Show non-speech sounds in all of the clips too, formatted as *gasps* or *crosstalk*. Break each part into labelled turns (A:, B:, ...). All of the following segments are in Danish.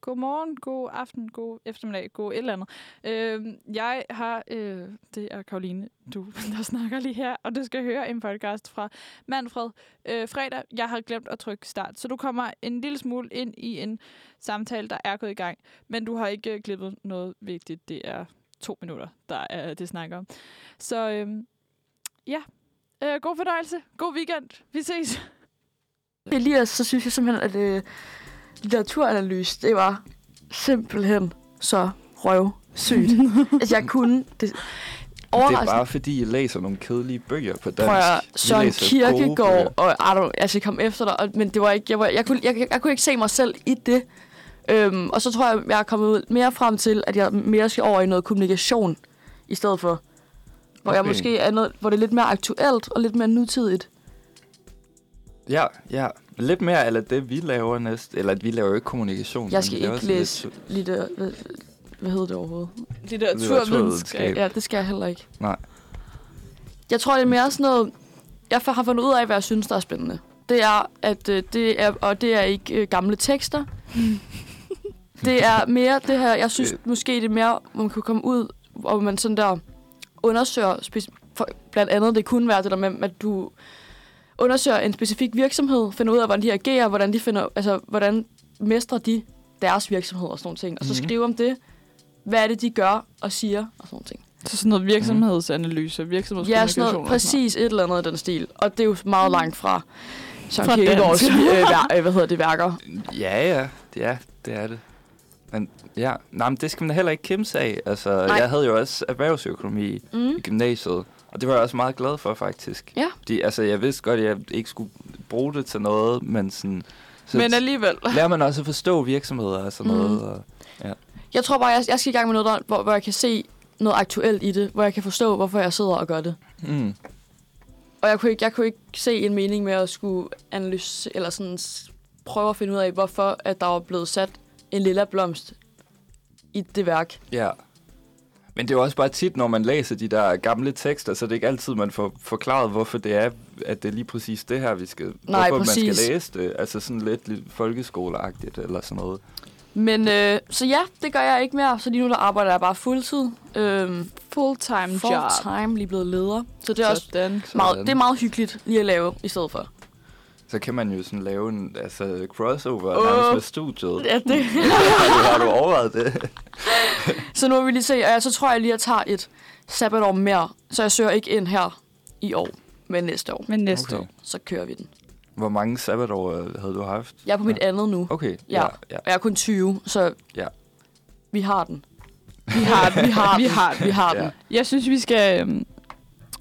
A: God morgen, god aften, god eftermiddag, god et eller andet. Øh, jeg har, øh, det er Karoline, du, *laughs* der snakker lige her, og du skal høre en podcast fra Manfred øh, fredag. Jeg har glemt at trykke start, så du kommer en lille smule ind i en samtale, der er gået i gang, men du har ikke øh, glippet noget vigtigt. Det er to minutter, der er det snakker om. Så øh, ja, øh, god fornøjelse, god weekend, vi ses.
B: Jeg lige så synes jeg simpelthen, at øh, litteraturanalyse, det var simpelthen så røvsygt. altså, jeg kunne det
C: Det er
B: overraskende.
C: bare fordi, jeg læser nogle kedelige bøger på dansk.
B: Prøv at høre,
C: Vi
B: Søren
C: læser gode bøger.
B: Kierkegaard og Arno, altså jeg kom efter dig, og, men det var ikke, jeg, var, jeg, kunne, jeg, jeg, jeg kunne ikke se mig selv i det. Øhm, og så tror jeg, jeg er kommet ud mere frem til, at jeg mere skal over i noget kommunikation i stedet for. Hvor okay. jeg
C: Okay.
B: måske er noget, hvor det er lidt mere aktuelt og lidt mere nutidigt.
C: Ja, ja. Lidt mere af det, vi laver næst. Eller vi laver jo ikke kommunikation. men
B: Jeg
C: vi
B: skal
C: laver
B: ikke
C: sådan
B: læse lidt,
C: Lidt...
B: hvad, hvad hedder det overhovedet?
C: Litteraturvidenskab.
B: Ja, det skal jeg heller ikke.
C: Nej.
B: Jeg tror, det er mere sådan noget... Jeg har fundet ud af, hvad jeg synes, der er spændende. Det er, at øh, det er, og det er ikke øh, gamle
C: *laughs*
B: tekster. det er mere det her, jeg synes
C: Øh.
B: måske, det er mere, hvor man kunne komme ud, hvor man sådan der undersøger, speci- for, blandt andet det kunne være det der med, at du undersøger en specifik virksomhed, finder ud af, hvordan de agerer, hvordan de finder, altså, hvordan mestrer de deres virksomhed og sådan nogle ting. Og så
C: Mhm.
B: skrive om det, hvad er det, de gør og siger og sådan nogle ting.
A: Så sådan noget virksomhedsanalyse,
B: Mhm. Ja,
A: virksomhedskommunikation.
B: sådan noget, præcis et eller andet i den stil. Og det er jo meget langt fra
A: Fra
B: Søren Kierkegaards
A: dansk.
B: øh,
A: *laughs*
B: vær, øh, hvad hedder det, værker.
C: Ja, ja. Ja, det er det. Men ja, nej, men det skal man heller ikke kæmpe sig af. Altså,
B: Nej.
C: jeg havde jo også erhvervsøkonomi i
B: Mm.
C: gymnasiet. Og det var jeg også meget glad for, faktisk.
B: Ja.
C: Fordi, altså, jeg vidste godt, at jeg ikke skulle bruge det til noget, men sådan... Så
A: Men
C: men
A: alligevel.
C: lærer man også at forstå virksomheder og sådan
B: Mm.
C: noget. Og,
B: Jeg tror bare, jeg, jeg skal i gang med noget, der, hvor, hvor jeg kan se noget aktuelt i det. Hvor jeg kan forstå, hvorfor jeg sidder og gør det.
C: mm.
B: Og jeg kunne ikke, jeg kunne ikke se en mening med at skulle analyse, eller sådan s- prøve at finde ud af, hvorfor at der var blevet sat en lilla blomst i det værk.
C: Ja. Men det er jo også bare tit, når man læser de der gamle tekster, så det er ikke altid, man får forklaret, hvorfor det er, at det er lige præcis det her, vi skal,
B: Nej,
C: hvorfor man
B: præcis.
C: skal læse det. Altså sådan lidt, lidt folkeskoleagtigt eller sådan noget.
B: Men øh, så ja, det gør jeg ikke mere. Så lige nu der arbejder jeg bare fuldtid. Øhm,
A: Full-time job.
B: full-time lige blevet leder. Så det er også
A: Sådan.
B: Meget,
C: Sådan.
B: det er meget hyggeligt lige at lave i stedet for.
C: Så kan man jo sådan lave en altså, crossover
B: Åh.
C: oh. nærmest med studiet.
B: Ja, det.
C: Har du overvejet det?
B: *laughs* så nu vil vi lige se, og jeg- så tror jeg lige, at jeg tager et sabbatår mere. Så jeg søger ikke ind her i år, men næste år.
A: Men næste okay.
C: Okay.
A: år.
B: Så kører vi den.
C: Hvor mange sabbatår øh, havde du haft?
B: Jeg er på mit andet nu,
C: Okay,
B: Ja.
C: ja. ja.
B: og jeg er kun 20, så
C: Ja.
B: vi har den.
A: Vi har den.
B: Vi har
A: vi
B: den.
A: har den.
B: Vi har den.
C: Ja.
A: Jeg synes, vi skal øhm,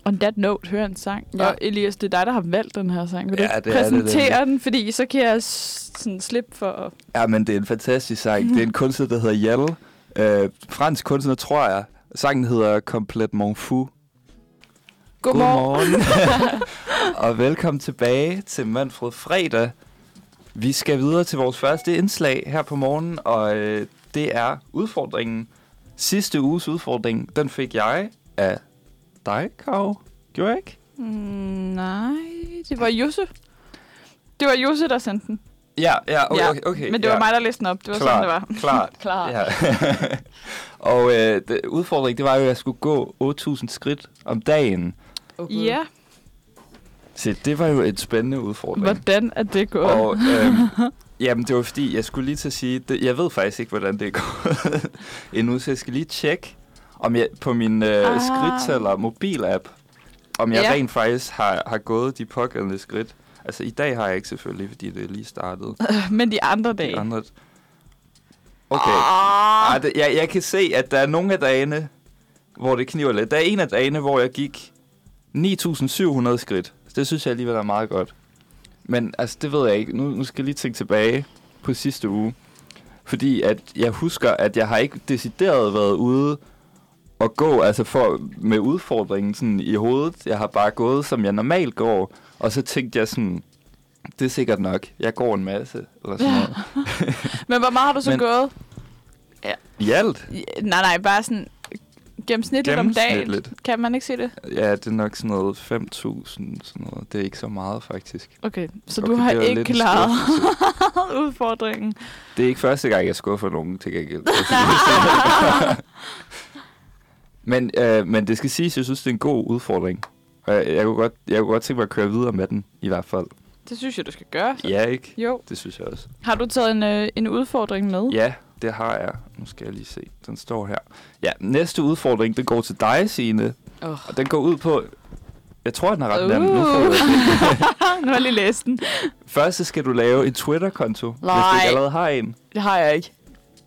A: on that note høre en sang. Ja.
B: Ja.
A: Og Elias, det er dig, der har valgt den her sang. Vil du
C: Ja,
A: ikke
C: det er det
A: præsentere
C: nemlig.
A: den? Fordi så kan jeg s- sådan slippe for... at-
C: Ja, men det er en fantastisk sang. Det er en kunstner, der hedder Yael. Øh, fransk kunstner, tror jeg. Sangen hedder Complet Mon Fou.
A: Godmorgen. *laughs*
C: og velkommen tilbage til Manfred Fredag. Vi skal videre til vores første indslag her på morgenen, og øh, det er udfordringen. Sidste uges udfordring, den fik jeg af dig, Kav. Gjorde jeg ikke?
A: Mm, nej, det var Jose. Det var Jose, der sendte den.
C: Ja, ja, okay,
A: Ja,
C: okay, okay
A: Men det
C: ja.
A: var mig, der læste den op. Det var sådan, det var.
C: Klart,
A: *laughs*
B: Klar.
C: Ja. *laughs* og øh, det, udfordringen, det var jo, at jeg skulle gå 8.000 skridt om dagen.
B: Okay.
A: Ja,
C: Så det var jo en spændende udfordring.
A: hvordan er det gået?
C: Og øhm,
A: *laughs*
C: jamen, det var fordi, jeg skulle lige til at sige, det, jeg ved faktisk ikke, hvordan det går *laughs* endnu, så jeg skal lige tjekke om jeg, på min øh,
A: Ah.
C: skridtæller mobil-app, om jeg
A: Ja.
C: rent faktisk har, har gået de pågældende skridt. Altså, i dag har jeg ikke selvfølgelig, fordi det er lige startede.
A: Men de andre
C: De
A: dage.
C: andre... Okay. Ah, det, jeg, jeg kan se, at der er nogle af dagene, hvor det kniver lidt. Der er en af dagene, hvor jeg gik 9.700 skridt. Så Det synes jeg alligevel er meget godt. Men altså, det ved jeg ikke. Nu, nu skal jeg lige tænke tilbage på sidste uge. Fordi at jeg husker, at jeg har ikke decideret været ude og gå altså for, med udfordringen sådan i hovedet. Jeg har bare gået, som jeg normalt går. Og så tænkte jeg sådan, det er sikkert nok. Jeg går en masse, eller sådan noget.
A: Men hvor meget har du så
C: Men-
A: gået?
C: I alt?
A: Ja, Nej, nej, bare sådan Gennemsnitligt, gennemsnitligt om dagen.
C: Gennemsnitligt.
A: Kan man ikke se det?
C: Ja, det er nok sådan noget 5.000, sådan noget. Det er ikke så meget, faktisk.
A: Okay, så
C: Okay,
A: du har
C: det var
A: ikke
C: lidt en
A: klaret *laughs* udfordringen.
C: Det er ikke første gang, jeg skuffer nogen til gengæld. men, øh, men det skal siges, jeg synes, det er en god udfordring. Og jeg, jeg, kunne godt, jeg kunne godt tænke mig at køre videre med den, i hvert fald.
A: Det synes jeg, du skal gøre.
C: Ja, ikke?
A: Jo. Uh.
C: Det synes jeg også.
A: Har du taget en, øh, en udfordring med?
C: Ja, det har jeg. Nu skal jeg lige se. Den står her. Ja, næste udfordring, den går til dig, Signe.
B: Åh.
C: Og den går ud på... Jeg tror, den er ret nem. Nu får
A: Uh.
C: jeg
A: *laughs* nu har jeg lige læst den.
C: Først så skal du lave en Twitter-konto, hvis du
B: Nej.
C: ikke allerede har en.
B: Det har jeg ikke.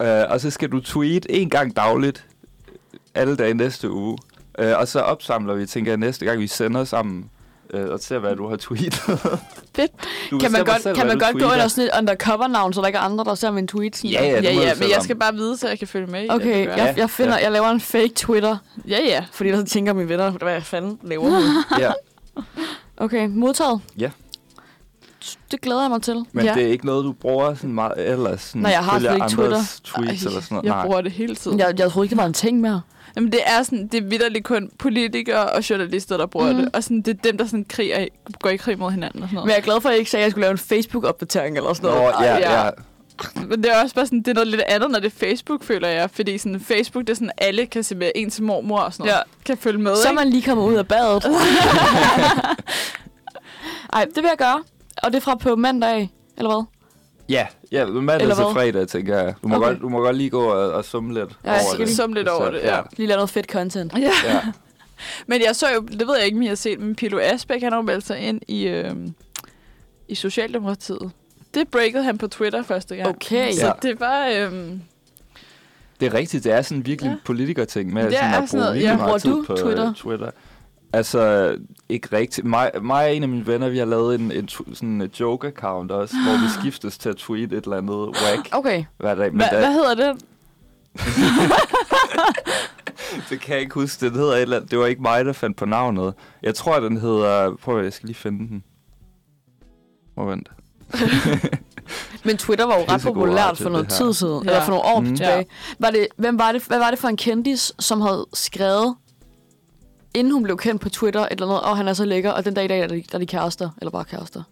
C: Uh, og så skal du tweet en gang dagligt, øh, alle dage næste uge. Uh, og så opsamler vi, tænker jeg, næste gang vi sender sammen, uh, og ser, hvad du har tweetet. *laughs*
B: Fedt.
C: Du
B: Kan man
C: bestemme
B: godt,
C: selv,
B: kan
C: hvad
B: man
C: du
B: godt gå
C: tweeter.
B: under sådan et undercover-navn, så der ikke er andre, der ser mine tweets? sådan
C: Ja,
B: der?
C: ja, det
A: ja,
C: må
A: ja
C: du
A: men
C: selv
A: jeg
C: om.
A: skal bare vide, så jeg kan følge med. i,
B: Okay,
A: hvad du gør.
B: jeg, jeg, finder,
C: Ja.
B: jeg laver en fake Twitter,
A: ja, ja.
B: fordi ellers tænker mine venner, hvad jeg fanden laver hun?
C: *laughs* Ja,
B: Okay, modtaget.
C: Ja.
B: Det glæder jeg mig til.
C: men
A: Ja.
C: det er ikke noget, du bruger sådan meget ellers. Sådan,
B: Nej, jeg har
C: følger
B: slet ikke Twitter.
C: andres tweets
A: Ej,
C: eller sådan noget.
A: Jeg
C: Nej.
A: bruger det hele tiden.
B: Jeg, jeg troede ikke, det var en ting mere.
A: Jamen, det er sådan, det er vidderligt kun politikere og journalister, der bruger mm.
B: Mhm.
A: det. Og sådan, det er dem, der sådan kriger, går i krig mod hinanden og sådan
B: Men
A: noget.
B: jeg er glad for, at I ikke sagde, at jeg skulle lave en Facebook-opdatering eller sådan
C: Nå,
B: noget.
C: ja,
A: Ej, ja.
C: ja.
A: Men, men det er også bare sådan, det er noget lidt andet, når det er Facebook, føler jeg. Fordi sådan, Facebook, det er sådan, alle kan se med ens mormor og sådan noget. Ja. Kan følge med,
B: Så er
A: ikke?
B: man lige kommet ud af *laughs* badet. Ej, det vil jeg gøre. Og det er fra på mandag, eller hvad?
C: Ja, ja, mandag
B: Eller
C: til
B: hvad?
C: fredag, tænker jeg. Du må,
B: Okay.
C: godt, du må godt lige gå og, og summe lidt
B: Ja, jeg
C: over
B: skal lige
C: det.
A: summe lidt
C: Så-
A: over det, ja.
B: Lige lave noget fedt content.
A: Ja.
C: ja.
A: Men jeg så jo, det ved jeg ikke, om I har set, men Pilo Asbæk, han har jo meldt sig ind i, øh, i Socialdemokratiet. Det breakede han på Twitter første gang.
B: Okay.
A: Så
C: Ja.
A: det var... Øh,
C: Det er rigtigt, det er sådan virkelig
A: Ja.
C: ja. politikerting med
A: Det
C: sådan
A: er sådan
C: at bruge
A: noget,
C: virkelig
A: ja.
B: Bruger
C: meget
B: du
C: tid på øh,
B: Twitter?
C: Twitter. Altså, ikke rigtigt. Mig, mig og en af mine venner, vi har lavet en, en tw- sådan en joke-account også, hvor
B: *gasps*
C: vi skiftes til at tweete et eller andet whack
B: Okay.
C: hver dag. Men
A: hva,
C: da,
A: hvad hedder det?
C: det kan jeg ikke huske. Den hedder et eller andet. Det var ikke mig, der fandt på navnet. Jeg tror, den hedder... Prøv at jeg skal lige finde den.
B: *laughs*
C: Moment.
B: Men Twitter var jo ret
C: Pissegod
B: populært
C: radio,
B: for noget
C: det her.
B: tid siden,
A: Ja.
B: ja. eller for nogle år
C: Mm.
B: mm. tilbage. Var det, hvem var det, hvad var det for en kendis, som havde skrevet, inden hun blev kendt på Twitter, et eller andet, og han er så lækker, og den dag i dag er de, der er de kærester, eller bare kærester?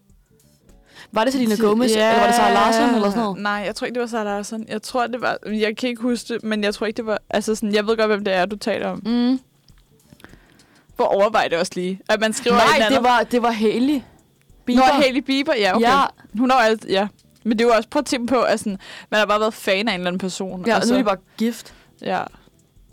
B: Var det Selena Gomez, yeah. eller var det Sarah Larsen, eller sådan noget?
A: Nej, jeg tror ikke, det var Sarah Larsen. Jeg tror, det var... Jeg kan ikke huske det, men jeg tror ikke, det var... Altså sådan, jeg ved godt, hvem det er, du taler om.
B: Mm.
A: Hvor overvej det også lige. At man skriver et eller
B: Nej,
A: andet.
B: det var, det var Hailey.
A: Bieber. Nå, Hailey Bieber, ja, okay.
B: Ja,
A: Ja. Hun har jo alt... Ja. Men det er jo også... Prøv at tænke på, at sådan, man har bare været fan af en eller anden person.
B: ja
A: og
B: nu
A: så,
B: er de bare gift.
A: Ja.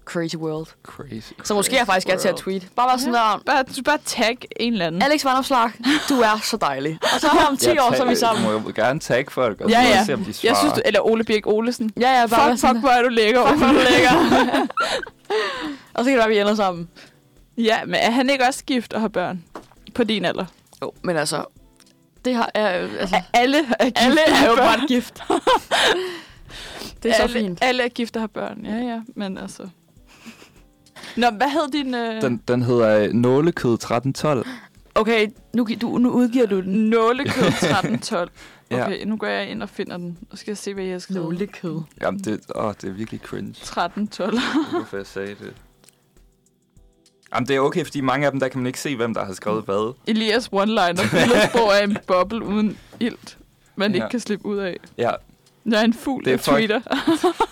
B: Crazy world.
C: Crazy.
B: Så måske jeg faktisk er til at tweet. Bare var sådan
A: Ja.
B: ja. der,
A: Bare, du bare tag en eller anden.
B: Alex Vandopslag, du er så dejlig. Og så
C: *laughs*
B: om 10 år, så er vi sammen.
C: Du må jo gerne tagge folk, og
A: Ja,
C: ja,
A: ja.
C: ja. se, om de svarer.
A: Jeg synes, du, eller Ole Birk Olesen.
B: Ja, ja, bare
A: Fuck,
B: fuck, sådan
A: fuck,
B: fuck.
A: hvor er du lækker. Fuck, hvor
B: *laughs*
A: er du lækker.
B: Og så kan det være, vi ender sammen.
A: *laughs* ja, men er han ikke også gift og har børn? På din alder.
B: Jo, men altså, det har, er, øh, altså,
A: Alle er gift.
B: alle
A: og
B: er
A: har
B: jo *laughs*
A: børn.
B: bare gift. det er så
A: alle,
B: fint.
A: Alle er gift og har børn. Ja, ja, men altså... Nå, hvad hed din... Øh,
C: Den, den hedder øh, Nålekød 1312.
B: Okay, nu, gi- du, nu udgiver du den.
A: Nålekød
C: *laughs*
A: 1312.
C: Ja.
A: Okay, nu går jeg ind og finder den. Nu skal jeg se, hvad jeg har skrevet.
B: Nålekød.
C: Jamen, det, åh, det er virkelig
A: *laughs*
C: cringe.
A: 1312.
C: Hvorfor jeg sagde det? Jamen, det er okay, fordi mange af dem, der kan man ikke se, hvem der har skrevet hvad.
A: Elias one-liner.
C: *laughs*
A: Fillersborg er en boble uden ilt, man ja. ikke
C: Ja.
A: kan slippe ud af.
C: Ja,
A: Jeg er en fugl,
C: Det er
A: der
C: fuck-
A: tweeter.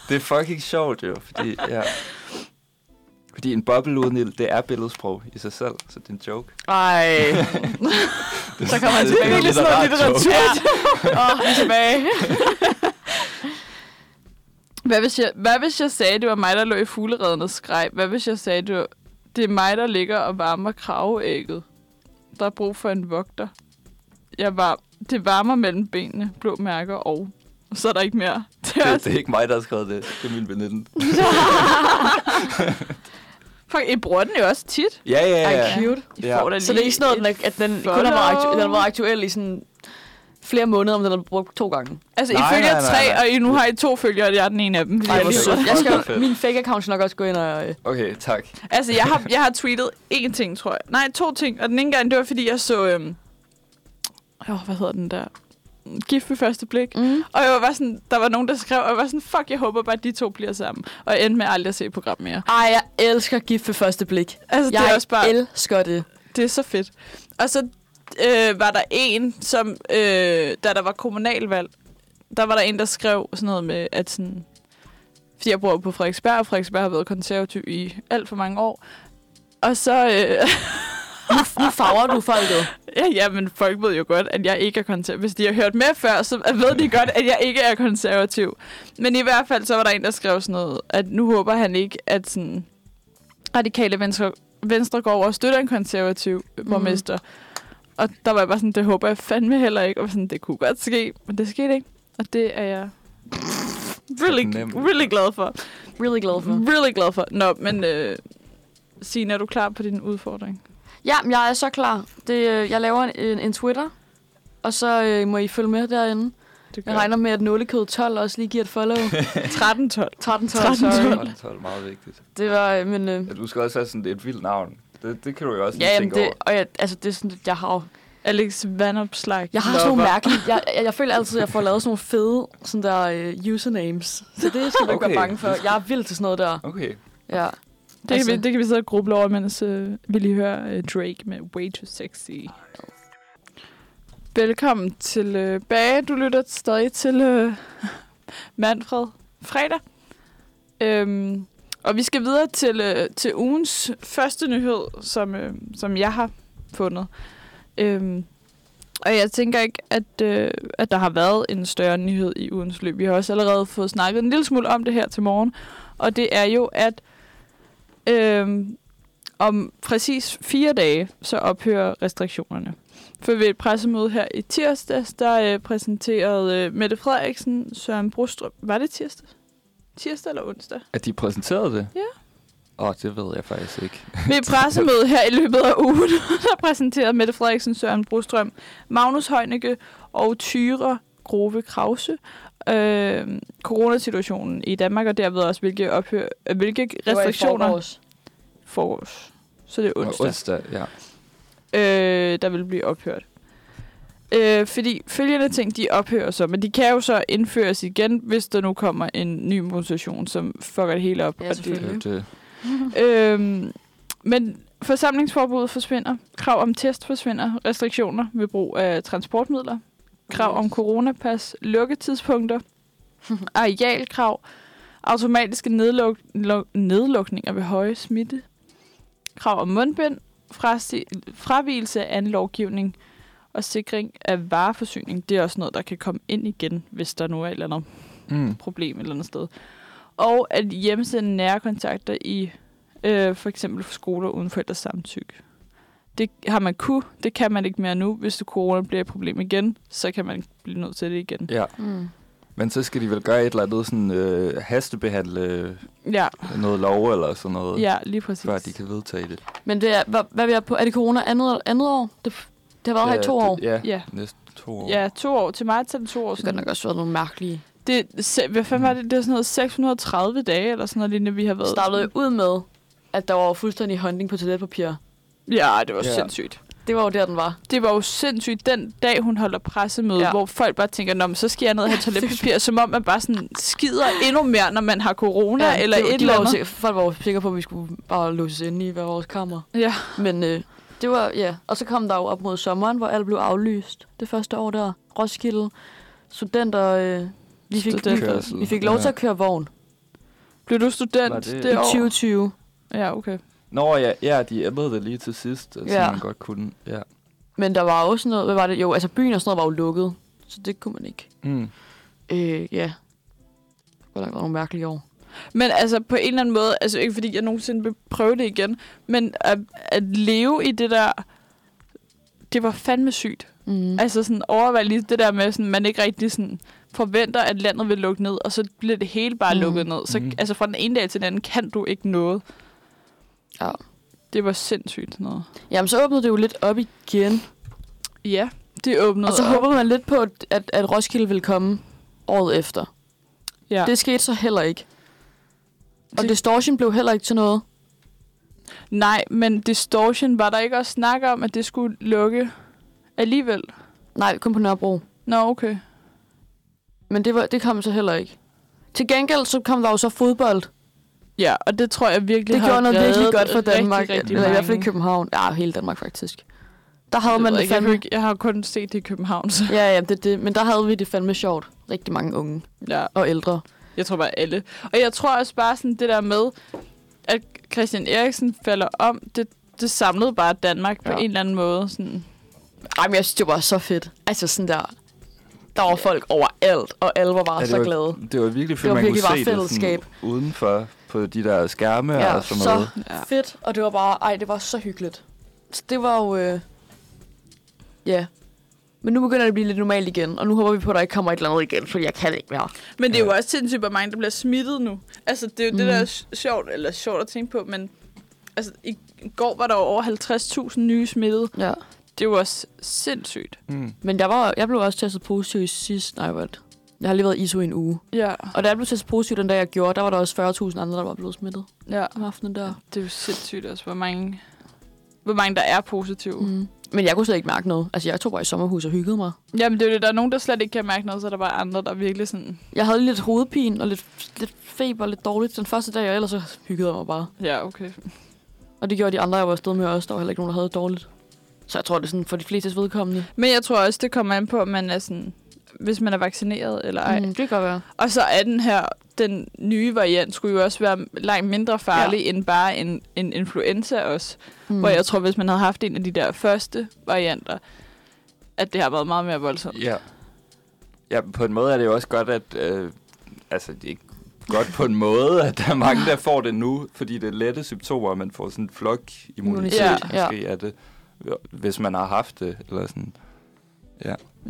C: det er fucking sjovt jo, fordi, ja. Fordi en boble uden ild, det er billedsprog i sig selv, så det er en joke.
B: Ej.
C: *laughs*
B: så kommer han
C: Det er
B: tilbage.
C: virkelig sådan noget litteratur.
B: Åh, vi er tilbage.
A: *laughs* Hvad hvis, jeg, hvad hvis jeg sagde, det var mig, der lå i fuglereden og skreg? Hvad hvis jeg sagde, det, var, det er mig, der ligger og varmer kraveægget? Der er brug for en vogter. Jeg var, det varmer mellem benene, blå mærker og... Så er der ikke mere. Det er
C: Det,
A: også,
C: det er ikke mig, der har skrevet det. Det er min veninde.
A: fuck, I bruger den jo også tit.
C: Ja, ja,
B: Ej,
C: ja.
B: cute.
A: I
C: Ja.
A: da
B: Så det er ikke sådan noget,
A: et
B: den er- at den kun har været, aktu-
A: follow.
B: den har været aktuel i sådan flere måneder, om den har brugt to gange.
A: Altså,
C: Nej,
A: I følger
C: nej, nej,
A: tre,
C: nej.
A: og I nu har I to følgere, og jeg er den ene af dem. fordi
B: Ej,
A: jeg
B: hvor
A: lige-
B: sødt. Jeg skal,
C: Fedt.
B: min fake account skal nok også gå ind og... øh,
C: Okay, tak.
A: Altså, jeg har, jeg har tweetet én ting, tror jeg. Nej, to ting. Og den ene gang, det var, fordi jeg så... Øhm... Oh, hvad hedder den der? gift ved første blik.
B: Mm.
A: Og jeg var bare sådan, der var nogen, der skrev, og jeg var sådan, fuck, jeg håber bare, at de to bliver sammen. Og jeg endte med aldrig at se et program mere.
B: Ej, jeg elsker gift ved første blik.
A: Altså,
B: Jeg
A: det er også bare,
B: elsker det.
A: det er så fedt. Og så øh, var der en, som, øh, da der var kommunalvalg, der var der en, der skrev sådan noget med, at sådan, fordi jeg bor på Frederiksberg, og Frederiksberg har været konservativ i alt for mange år. Og så, øh,
B: Nu, nu farver du folket.
A: Ja, ja, men folk ved jo godt, at jeg ikke er konservativ. Hvis de har hørt med før, så ved de godt, at jeg ikke er konservativ. Men i hvert fald, så var der en, der skrev sådan noget, at nu håber han ikke, at sådan, radikale venstre, venstre går over og støtter en konservativ
B: Mhm.
A: borgmester. Og der var jeg bare sådan, det håber jeg fandme heller ikke. Og sådan, det kunne godt ske, men det skete ikke. Og det er jeg really,
C: Fornemt.
A: really glad for.
B: Really glad for.
A: Really glad for. Nå, men øh, Signe, er du klar på din udfordring?
B: Ja, men jeg er så klar. Det, øh, jeg laver en, en, en Twitter, og så øh, må I følge med derinde.
A: Det
B: Jeg regner med, at nålekød 12 også lige giver et follow.
C: *laughs*
A: 13-12.
B: 13 12,
A: 13,
B: sorry.
A: 12.
C: 12 er meget vigtigt.
B: Det var, øh, men... Øh,
C: Ja, du skal også have sådan et vildt navn. Det, det kan du jo også lige
B: ja, jamen
C: tænke
B: det,
C: over.
B: og jeg, altså det er sådan, at jeg har jo-
A: Alex Vandopslag.
B: Jeg har sådan nogle mærkelige... Jeg, jeg, jeg føler altid, at jeg får lavet sådan nogle fede sådan der, øh, usernames. Så det skal du ikke
C: Okay.
B: være bange for. Jeg er vild til sådan noget der.
C: Okay.
B: Ja.
A: Det, altså. kan vi, det kan vi sidde og gruble over, mens øh, vi lige hører øh, Drake med Way Too Sexy. Velkommen tilbage. Du lytter stadig til øh, *laughs* Manfred Fredag. Øhm, og vi skal videre til, øh, til ugens første nyhed, som, øh, som jeg har fundet. Øhm, og jeg tænker ikke, at, øh, at der har været en større nyhed i ugens løb. Vi har også allerede fået snakket en lille smule om det her til morgen. Og det er jo, at Øhm, om præcis fire dage, så ophører restriktionerne. For ved et pressemøde her i tirsdags, der øh, præsenterede øh, Mette Frederiksen, Søren Brostrup... Var det tirsdag? Tirsdag eller onsdag?
C: At de præsenterede det?
A: Ja.
C: Åh, oh, det ved jeg faktisk ikke.
A: Ved et pressemøde her i løbet af ugen, *laughs* der præsenterede Mette Frederiksen, Søren Brostrøm, Magnus Heunicke og Tyre Grove Krause øh, coronasituationen i Danmark, og derved også, hvilke, ophør, øh, hvilke restriktioner forårs. Så det er
C: Nå,
A: onsdag.
C: Onsdag, ja.
A: øh, der vil blive ophørt. Øh, fordi følgende ting, de ophører så, men de kan jo så indføres igen, hvis der nu kommer en ny mutation, som fucker det hele op.
B: Ja,
A: og det,
B: selvfølgelig.
C: Det, det.
A: øh, men forsamlingsforbuddet forsvinder, krav om test forsvinder, restriktioner ved brug af transportmidler, krav om coronapas, lukketidspunkter, arealkrav, automatiske nedluk luk- nedlukninger ved høje smitte, krav om mundbind, frasi- fravielse af anden lovgivning og sikring af vareforsyning. Det er også noget, der kan komme ind igen, hvis der nu er et eller andet
C: Mm.
A: problem et eller andet sted. Og at hjemsende nære kontakter i øh, for eksempel skoler uden forældres samtykke. Det har man kunne, det kan man ikke mere nu. Hvis det corona bliver et problem igen, så kan man blive nødt til det igen.
C: Ja,
B: Mm.
C: men så skal de vel gøre et eller andet sådan øh, hastebehandle
A: Ja,
C: noget lov eller sådan noget,
A: ja lige præcis.
C: før de kan vedtage det.
B: Men det er, hvad, hvad er vi er på? Er det corona andet, andet år? Det, det har været her i to
C: det,
B: år.
C: Ja,
A: Ja.
C: næsten to år.
A: Ja, to år. Til marts er det to år
B: Det har
A: siden.
B: nok også været nogle mærkelige.
A: Det, se, hvad fanden var det? Det er sådan noget 630 dage, eller sådan noget lignende, vi har
B: Det
A: været.
B: startede jo ud med, at der var fuldstændig håndling på toiletpapir.
A: Ja, det var
C: Ja.
A: sindssygt.
B: Det var jo der, den var.
A: det var jo sindssygt den dag, hun holder pressemøde,
B: Ja.
A: ja. hvor folk bare tænker, Nå, men så skal jeg
B: *laughs*
A: ned og have toiletpapir, som om man bare sådan skider endnu mere, når man har corona ja, eller
B: det,
A: et
B: de
A: eller
B: var jo
A: andet.
B: sikre- folk var jo sikre på, at vi skulle bare låses inde i hver vores kammer.
A: Ja.
B: Men øh, det var, ja. Og så kom der jo op mod sommeren, hvor alt blev aflyst. Det første år der. Roskilde. Studenter. Øh, vi, fik,
A: Studenterkørsel.
B: vi, vi fik lov til at køre vogn
A: Blev du
C: Var
A: student
C: det-
A: det,
B: i
A: det år?
B: 2020.
A: Ja, okay.
C: Nå ja, ja, de ændrede det lige til sidst, så
B: Ja.
C: ja. man godt kunne. Ja.
B: Men der var også noget, hvad var det? Jo, altså byen og sådan noget var jo lukket. Så det kunne man ikke.
C: Mm.
B: Øh, ja. Det var nok nogle mærkelige år.
A: Men altså på en eller anden måde, altså ikke fordi jeg nogensinde vil prøve det igen, men at, at leve i det der, det var fandme sygt.
B: Mm.
A: Altså sådan overvej lige det der med, sådan, man ikke rigtig sådan forventer, at landet vil lukke ned, og så bliver det hele bare
B: Mm.
A: mm. lukket ned. Så
C: Mm.
A: mm. altså fra den ene dag til den anden kan du ikke noget.
B: Ja.
A: Det var sindssygt sådan noget.
B: Jamen, så åbnede det jo lidt op igen.
A: Ja, det åbnede
B: Og så
A: op.
B: håbede man lidt på, at, at, at Roskilde ville komme året efter.
A: Ja.
B: Det skete så heller ikke. Og
A: Det-
B: distortion blev heller ikke til noget.
A: Nej, men Distortion var der ikke også snak om, at det skulle lukke alligevel?
B: Nej, kun på Nørrebro.
A: Nå, okay.
B: Men det, var, det kom så heller ikke. Til gengæld så kom der jo så fodbold.
A: Ja, og det tror jeg virkelig
B: Det
A: har
B: gjorde noget
A: reddet
B: virkelig godt for Danmark.
A: Rigtig, rigtig
B: eller i hvert fald i
A: mange.
B: København. Ja, hele Danmark faktisk. Der havde man
A: jeg, ved
B: det
A: ikke, jeg, kan jo
B: fandme...
A: ikke, jeg har jo kun set det i København, så
B: Ja, ja, det, er det. Men der havde vi det fandme sjovt. Rigtig mange unge
A: ja.
B: og ældre.
A: Jeg tror bare alle. Og jeg tror også bare sådan det der med, at Christian Eriksen falder om, det, det samlede bare Danmark på
B: Ja.
A: en eller anden måde. Sådan.
B: Ej, men jeg synes, det var så fedt. Altså sådan der... Der var folk overalt, og alle var bare
C: Ja,
B: ja,
C: det
B: så
C: var-
B: glade.
C: Det var virkelig fedt,
B: Det var
C: man
B: virkelig bare
C: kunne se det
B: fællesskab.
C: sådan, udenfor på de der skærme
B: Ja,
C: og sådan
B: så-
C: noget.
A: Ja.
B: Fedt, og det var bare... Ej, det var så hyggeligt. Så det var jo... Øh... Ja. Men nu begynder det at blive lidt normalt igen, og nu håber vi på, at der ikke kommer et eller andet igen, for jeg kan ikke mere.
A: Men det er jo også sindssygt, hvor mange der bliver smittet nu. Altså, det er jo mm. det,
B: Mhm.
A: der er s- sjovt, eller sjovt at tænke på, men altså, i går var der jo over 50.000 nye smittede.
B: Ja.
A: Det er jo også sindssygt.
C: Mm.
B: Men jeg, var, jeg blev også testet positiv i sidste... Nej, hvad? er det? Jeg har lige været ISO i en uge.
A: Ja,
B: Og da jeg blev testet positiv den dag, jeg gjorde, der var der også 40.000 andre, der var blevet smittet
A: ja.
B: om aftenen der.
A: Det er jo sindssygt også, hvor mange, hvor mange der er positive. Mm.
B: Mm. Men jeg kunne slet ikke mærke noget. Altså, jeg tog bare i sommerhus og hyggede mig.
A: Jamen, det er jo det. Der er nogen, der slet ikke kan mærke noget, så er der bare andre, der virkelig sådan...
B: Jeg havde lidt hovedpine og lidt, lidt feber, lidt dårligt den første dag, og ellers så hyggede jeg mig bare.
A: Ja, okay.
B: Og det gjorde de andre, jeg var afsted med også. Der var heller ikke nogen, der havde det dårligt. Så jeg tror, det er sådan for de flestes vedkommende.
A: Men jeg tror også, det kommer an på, om man er sådan, hvis man er vaccineret eller ej. Mm.
B: det kan godt være.
A: Og så er den her, den nye variant, skulle jo også være langt mindre farlig ja. end bare en, en influenza også. Mm. Hvor jeg tror, hvis man havde haft en af de der første varianter, at det har været meget mere voldsomt.
C: Ja. Ja, på en måde er det jo også godt, at... Øh, altså, det er ikke godt på en måde, at der er mange, der får det nu, fordi det er lette symptomer, og man får sådan en flokimmunitet,
A: Ja,
C: ja,
B: ja.
C: måske ja. af det, hvis man har haft det, eller sådan.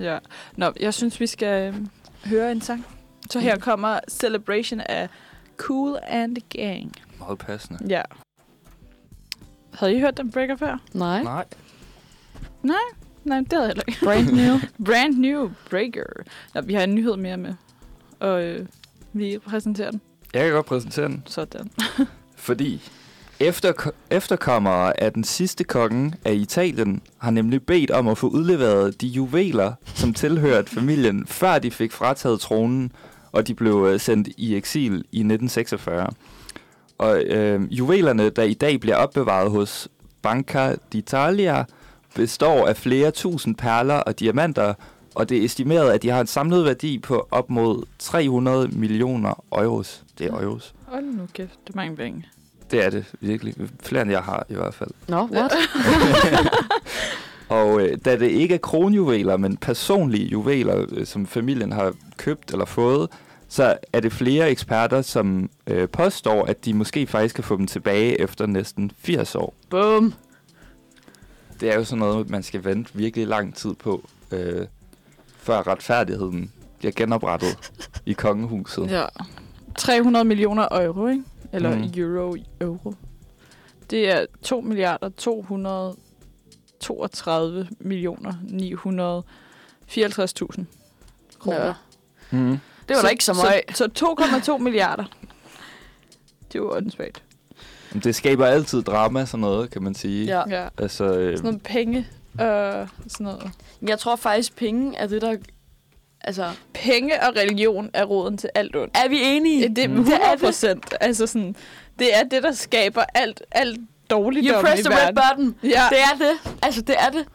A: Ja. Nå, jeg synes, vi skal øh, høre en sang. Så her kommer Celebration af Cool and the Gang.
C: Meget passende.
A: Ja. Havde I hørt den breaker før?
B: Nej.
C: Nej.
A: Nej, det havde jeg heller ikke.
B: Brand new.
A: *laughs* Brand new breaker. Nå, vi har en nyhed mere med, og øh, vi præsenterer den.
C: Jeg kan godt præsentere den.
A: Sådan.
C: Fordi efter, efterkommere af den sidste konge af Italien har nemlig bedt om at få udleveret de juveler, som tilhørte familien, før de fik frataget tronen, og de blev øh, sendt i eksil i 1946. Og øh, juvelerne, der i dag bliver opbevaret hos Banca d'Italia, består af flere tusind perler og diamanter, og det er estimeret, at de har en samlet værdi på op mod 300 millioner euros. Det er euros.
A: Hold nu kæft, det er mange penge.
C: Det er det virkelig. Flere end jeg har i hvert fald.
B: Nå, no, *laughs* what?
C: Og øh, da det ikke er kronjuveler, men personlige juveler, øh, som familien har købt eller fået, så er det flere eksperter, som øh, påstår, at de måske faktisk kan få dem tilbage efter næsten 80 år.
B: Bum.
C: Det er jo sådan noget, man skal vente virkelig lang tid på, øh, før retfærdigheden bliver genoprettet i kongehuset.
A: Ja. 300 millioner euro, ikke? Eller
C: Mhm.
A: mm. euro, euro. Det er 2 milliarder 232 millioner 954.000 kroner.
B: Ja.
C: Mm.
B: Det var da ikke så meget.
A: Så, så 2,2 *laughs* milliarder. Det er jo åndssvagt.
C: Det skaber altid drama, sådan noget, kan man sige.
B: Ja.
A: Ja.
C: Altså, øh,
A: Sådan noget penge og sådan noget.
B: Jeg tror faktisk, penge er det, der... Altså,
A: Penge og religion er roden til alt ondt.
B: er vi enige?
A: Det, det
C: Mm.
A: er 100 procent. Altså sådan, det er det, der skaber alt, alt dårligt i
B: You press the red
A: verden.
B: button.
A: Ja,
B: Det er det. Altså, det er det.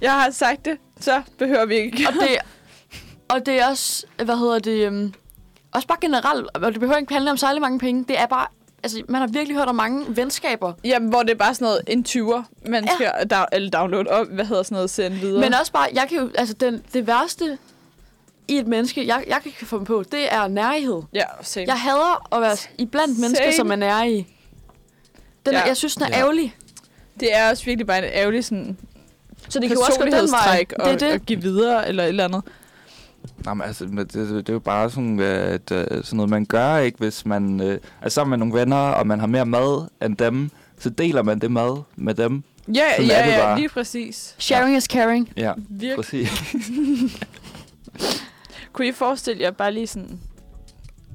A: jeg har sagt det, så behøver vi ikke.
B: Og det, *laughs* og det er også, hvad hedder det, øhm, også bare generelt, og det behøver ikke handle om særlig mange penge, det er bare, altså man har virkelig hørt om mange venskaber,
A: Jamen, hvor det er bare sådan noget, en 20'er, man skal down, eller downloade op, hvad hedder sådan noget, sende videre.
B: men også bare, jeg kan jo, altså den, det værste i et menneske, jeg, jeg kan få dem på, det er nærhed.
A: ja, same.
B: Jeg hader at være i blandt mennesker,
A: Same.
B: som er nære i. Den,
A: Ja.
B: ja. Jeg synes, den er
C: Ja.
B: ja. ærgerlig.
A: Det er også virkelig bare en ærgerlig sådan,
B: Så det kan jo også gå den vej.
A: personlighedstræk
B: Det er
A: og,
B: det.
A: og give videre eller et eller andet.
C: Nej, men altså, men det, det, det er jo bare sådan, at, øh, sådan noget, man gør, ikke? Hvis man øh, er sammen med nogle venner, og man har mere mad end dem, så deler man det mad med dem.
A: Ja,
C: Sådan
A: ja,
C: er det
A: ja,
C: bare.
A: lige præcis.
B: Sharing is caring.
C: Ja,
A: Virkelig.
C: præcis.
A: Kunne I forestille jer bare lige sådan,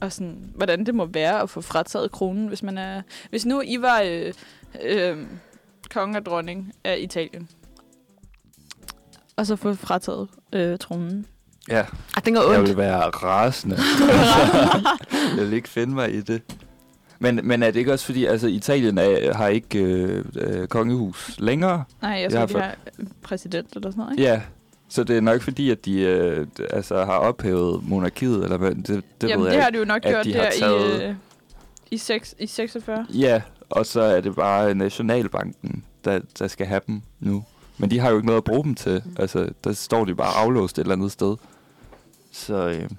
A: og sådan, hvordan det må være at få frataget kronen, hvis man er... Hvis nu I var øh, øh, konge og dronning af Italien, og så få frataget øh, tronen.
C: Ja,
B: Ej, den går
C: jeg
B: ondt.
C: vil være rasende. *laughs* jeg vil ikke finde mig i det. Men, men er det ikke også fordi, altså Italien er, har ikke øh, øh, kongehus længere?
A: Nej, jeg
C: har
A: tror, de har præsident eller sådan noget, ikke?
C: Ja, så det er nok fordi, at de øh, d- altså, har ophævet monarkiet, eller hvad? Det, det
A: Jamen,
C: ved jeg
A: det
C: ikke.
A: har de jo nok
C: at
A: gjort
C: de har
A: der i,
C: taget-
A: øh, i, 6, i 46.
C: Ja, og så er det bare Nationalbanken, der, der skal have dem nu. Men de har jo ikke noget at bruge dem til. Altså, der står de bare aflåst et eller andet sted. Så, øh,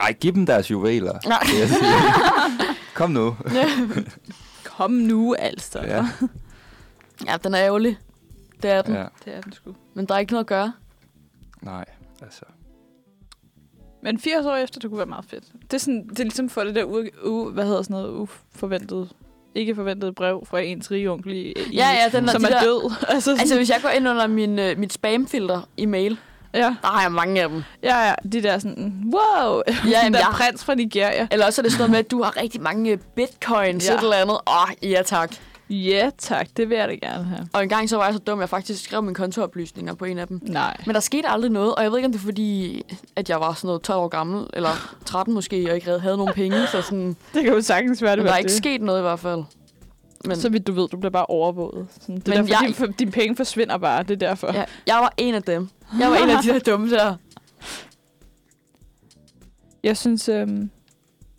C: ej, giv dem deres juveler.
B: Nej.
C: vil jeg sige. Kom nu.
A: Kom nu, altså.
C: Ja,
B: Ja, den er ærgerlig. Det er den. Ja.
C: ja.
A: Det er den sgu.
B: Men der er ikke noget at gøre.
C: Nej, altså.
A: Men 80 år efter, det kunne være meget fedt. Det er, sådan, det er ligesom for det der u, u, hvad hedder sådan noget, uforventet, ikke forventet brev fra ens rige onkel i, i-
B: Ja, ja, den
A: som
B: de
A: er
B: der-
A: død. *laughs* altså, sådan,
B: Altså, hvis jeg går ind under min, øh, mit spamfilter i mail,
A: ja,
B: der har jeg mange af dem.
A: ja, ja, de der sådan, wow,
B: *laughs* Ja,
A: den
B: jamen,
A: der
B: jeg,
A: prins fra Nigeria.
B: eller også er det sådan noget med, at du har rigtig mange øh, bitcoins,
A: Ja.
B: ja. et eller andet. Åh, oh, ja tak.
A: Ja tak, det vil jeg da gerne have.
B: Og en gang så var jeg så dum, at jeg faktisk skrev mine kontooplysninger på en af dem.
A: Nej.
B: Men der skete aldrig noget, og jeg ved ikke, om det er fordi, at jeg var sådan noget 12 år gammel, eller 13 måske, og ikke havde- havde nogen penge, så sådan,
A: Det kan jo sagtens være, det
B: men
A: var
B: der er
A: det.
B: ikke sket noget i hvert fald. Men,
A: Så vidt du ved, du bliver bare overvåget. Sådan, det er
B: Men
A: derfor,
B: jeg-
A: din, for, dine penge forsvinder bare, det er derfor.
B: ja, jeg var en af dem. Jeg var en af de der dumme der.
A: Jeg synes, øhm,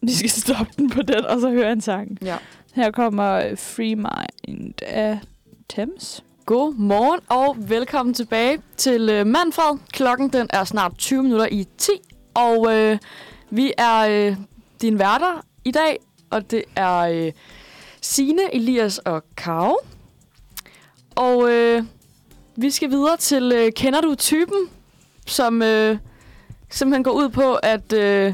A: vi skal stoppe den på den, og så høre en sang.
B: Ja.
A: Her kommer Free Mind af Thames.
B: God morgen og velkommen tilbage til øh, Manfred. Klokken den er snart 20 minutter i 10, og øh, vi er øh, dine værter i dag, og det er øh, Sine, Elias og Kau. Og øh, vi skal videre til øh, Kender du typen, som øh, simpelthen går ud på, at øh,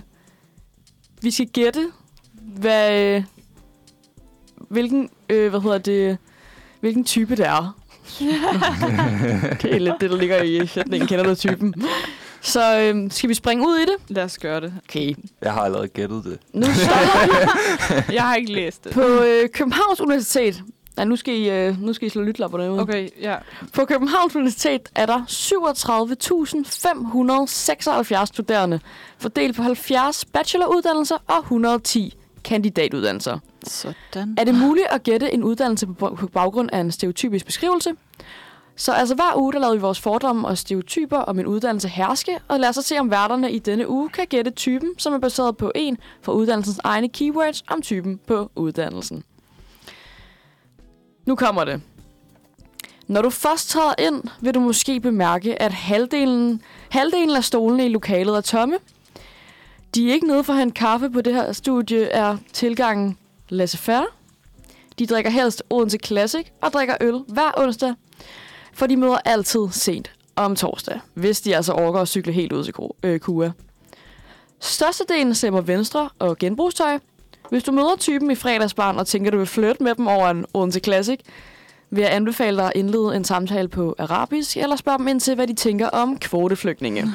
B: vi skal gætte, hvad, øh, hvilken, øh, hvad hedder det, hvilken type det er. Det er lidt det, der ligger i sætningen, kender du typen. Så øhm, skal vi springe ud i det?
A: Lad os gøre det.
B: Okay.
C: Jeg har allerede gættet det.
B: Nu starter vi
A: *laughs* Jeg har ikke læst det.
B: på øh, Københavns Universitet. Nej, nu skal I, øh, nu skal I slå lytlapperne ud.
A: Okay, ja.
B: På Københavns Universitet er der 37.576 studerende, fordelt på 70 bacheloruddannelser og 110 kandidatuddannelser.
A: Sådan.
B: Er det muligt at gætte en uddannelse på på baggrund af en stereotypisk beskrivelse? Så altså hver uge, der lader vi vores fordomme og stereotyper om en uddannelse herske, og lad os så se, om værterne i denne uge kan gætte typen, som er baseret på en fra uddannelsens egne keywords om typen på uddannelsen. Nu kommer det. Når du først træder ind, vil du måske bemærke, at halvdelen, halvdelen af stolene i lokalet er tomme. De er ikke nede for at hente kaffe på det her studie, er tilgangen laissez faire. De drikker helst Odense Classic og drikker øl hver onsdag, for de møder altid sent om torsdag, hvis de altså overgår at cykle helt ud til Gro- øh, Kua. Størstedelen stemmer venstre og genbrugstøj. Hvis du møder typen i fredagsbarn og tænker, du vil flytte med dem over en Odense Classic, vil jeg anbefale dig at indlede en samtale på arabisk, eller spørge dem ind til, hvad de tænker om kvoteflygtninge,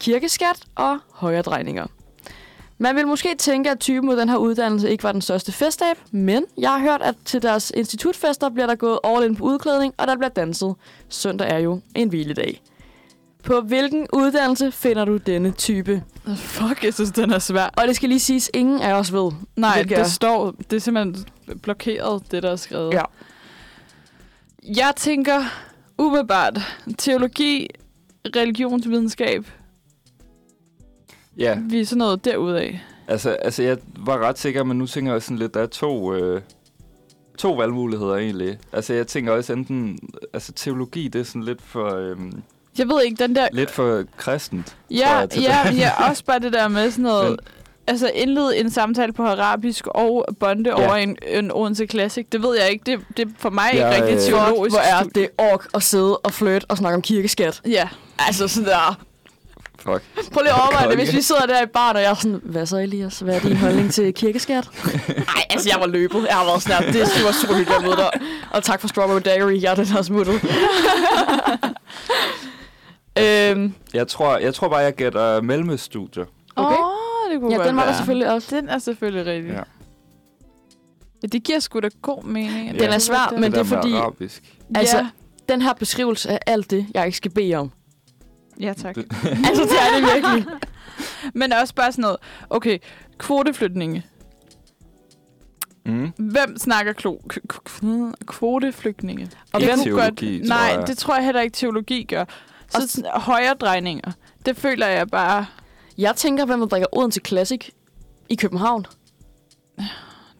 B: kirkeskat og højredrejninger. Man vil måske tænke, at typen mod den her uddannelse ikke var den største festab, men jeg har hørt, at til deres institutfester bliver der gået all in på udklædning, og der bliver danset. Søndag er jo en hviledag. På hvilken uddannelse finder du denne type?
A: Fuck, jeg synes, den er svær.
B: Og det skal lige siges, ingen af os ved.
A: Nej,
B: Hvilket
A: det,
B: er-
A: det står... Det er simpelthen blokeret, det der er skrevet.
B: Ja.
A: Jeg tænker umiddelbart teologi, religionsvidenskab.
C: Ja,
A: Vi er sådan noget derudaf.
C: altså, altså jeg var ret sikker, men nu tænker jeg også sådan lidt, der er to, øh, to valgmuligheder egentlig. Altså jeg tænker også enten, altså teologi, det er sådan lidt for, øh,
A: Jeg ved ikke, den der...
C: lidt for kristent. tror
A: Ja,
C: jeg, til
A: ja, ja, også bare det der med sådan noget...
C: Men-
A: Altså indlede en samtale på arabisk og bonde ja. over en, en Odense Classic. Det ved jeg ikke. Det, det er for mig ja,
C: Jeg,
A: ikke rigtig
C: øh,
B: Fuck,
A: teologisk.
B: hvor er det ork at sidde og flirte og snakke om kirkeskat.
A: studie. Ja.
B: Altså sådan der.
C: Fuck.
B: Prøv lige at overveje det,
C: Konge.
B: hvis vi sidder der i barn, og jeg er sådan, hvad så Elias, hvad er din holdning til kirkeskat? Nej, altså jeg var løbet, jeg har været sådan her, det er super, super hyggeligt at møde dig. Og tak for Strawberry Dairy, jeg er den her smuttet. øhm,
C: Jeg tror, jeg tror bare, jeg gætter mellemøststudier.
B: Okay.
A: Åh, oh, det kunne
B: ja,
A: godt
B: den var der
A: være.
B: selvfølgelig også.
A: Den er selvfølgelig rigtig. Ja.
C: Ja.
A: ja det giver sgu da god mening. at
C: Den
A: det
B: er svær,
A: godt,
B: men-
C: der
B: det er
C: med
B: fordi-
C: Arabisk.
A: Ja.
B: Altså, den her beskrivelse af alt det, jeg ikke skal bede om.
A: Ja, tak.
B: altså, det er det
C: *laughs*
B: virkelig.
A: Men også bare sådan noget. Okay, kvoteflytninge.
C: Mm.
A: Hvem snakker klo? K- k- k- kvoteflygtninge.
B: Og
A: Jeg
B: hvem,
A: kunne
C: Teologi, tror
A: Nej,
C: jeg.
A: det tror jeg heller ikke, teologi gør. Så
B: Og-
A: sådan, højre drejninger. Det føler jeg bare,
B: jeg tænker, hvem der drikker Odense Classic i København.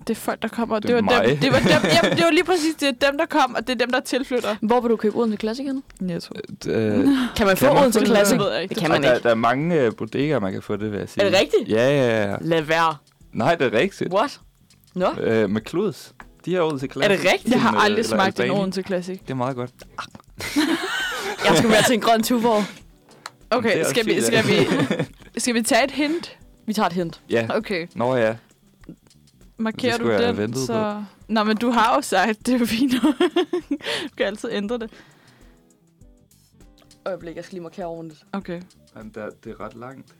A: det er folk, der kommer. og
C: Det er
A: det var dem,
C: mig.
A: det var dem, jamen, det var lige præcis det er dem, der kom, og det er dem, der tilflytter.
B: Hvor vil du købe Odense Classic henne?
A: Netto.
C: Øh,
B: Kan man få
C: Kan man
B: Odense
C: få det?
B: Classic?
A: Det ved jeg ikke.
B: Det
A: Det
B: kan
C: og
B: man
C: der,
B: ikke.
C: der er mange øh, bodegaer, man kan få det, vil jeg sige.
B: Er det rigtigt?
C: Ja, ja, ja.
B: Lad være.
C: Nej, det er rigtigt.
B: What? Nå?
C: Øh, med kluds. De har Odense Classic.
B: Er det rigtigt?
A: Jeg har
C: Eller-
A: aldrig
C: øh, eller
A: smagt en
C: Albanien.
A: Odense Classic.
C: Det er meget godt.
B: Jeg skulle være til en grøn tuvor.
C: Det er
A: Okay,
C: også
A: skal vi,
C: fint,
A: skal,
C: ja.
A: vi, skal vi tage et hint?
B: Vi tager et hint.
C: Ja.
A: Okay,
C: Nå ja.
A: markerer
C: skulle jeg have
A: du den,
C: ventet
A: så... Nå, men du har jo sagt, det er jo fint. *laughs* du kan altid ændre det.
B: Øjeblik, jeg skal lige markere ordentligt.
A: Okay.
C: Men der, det er ret langt.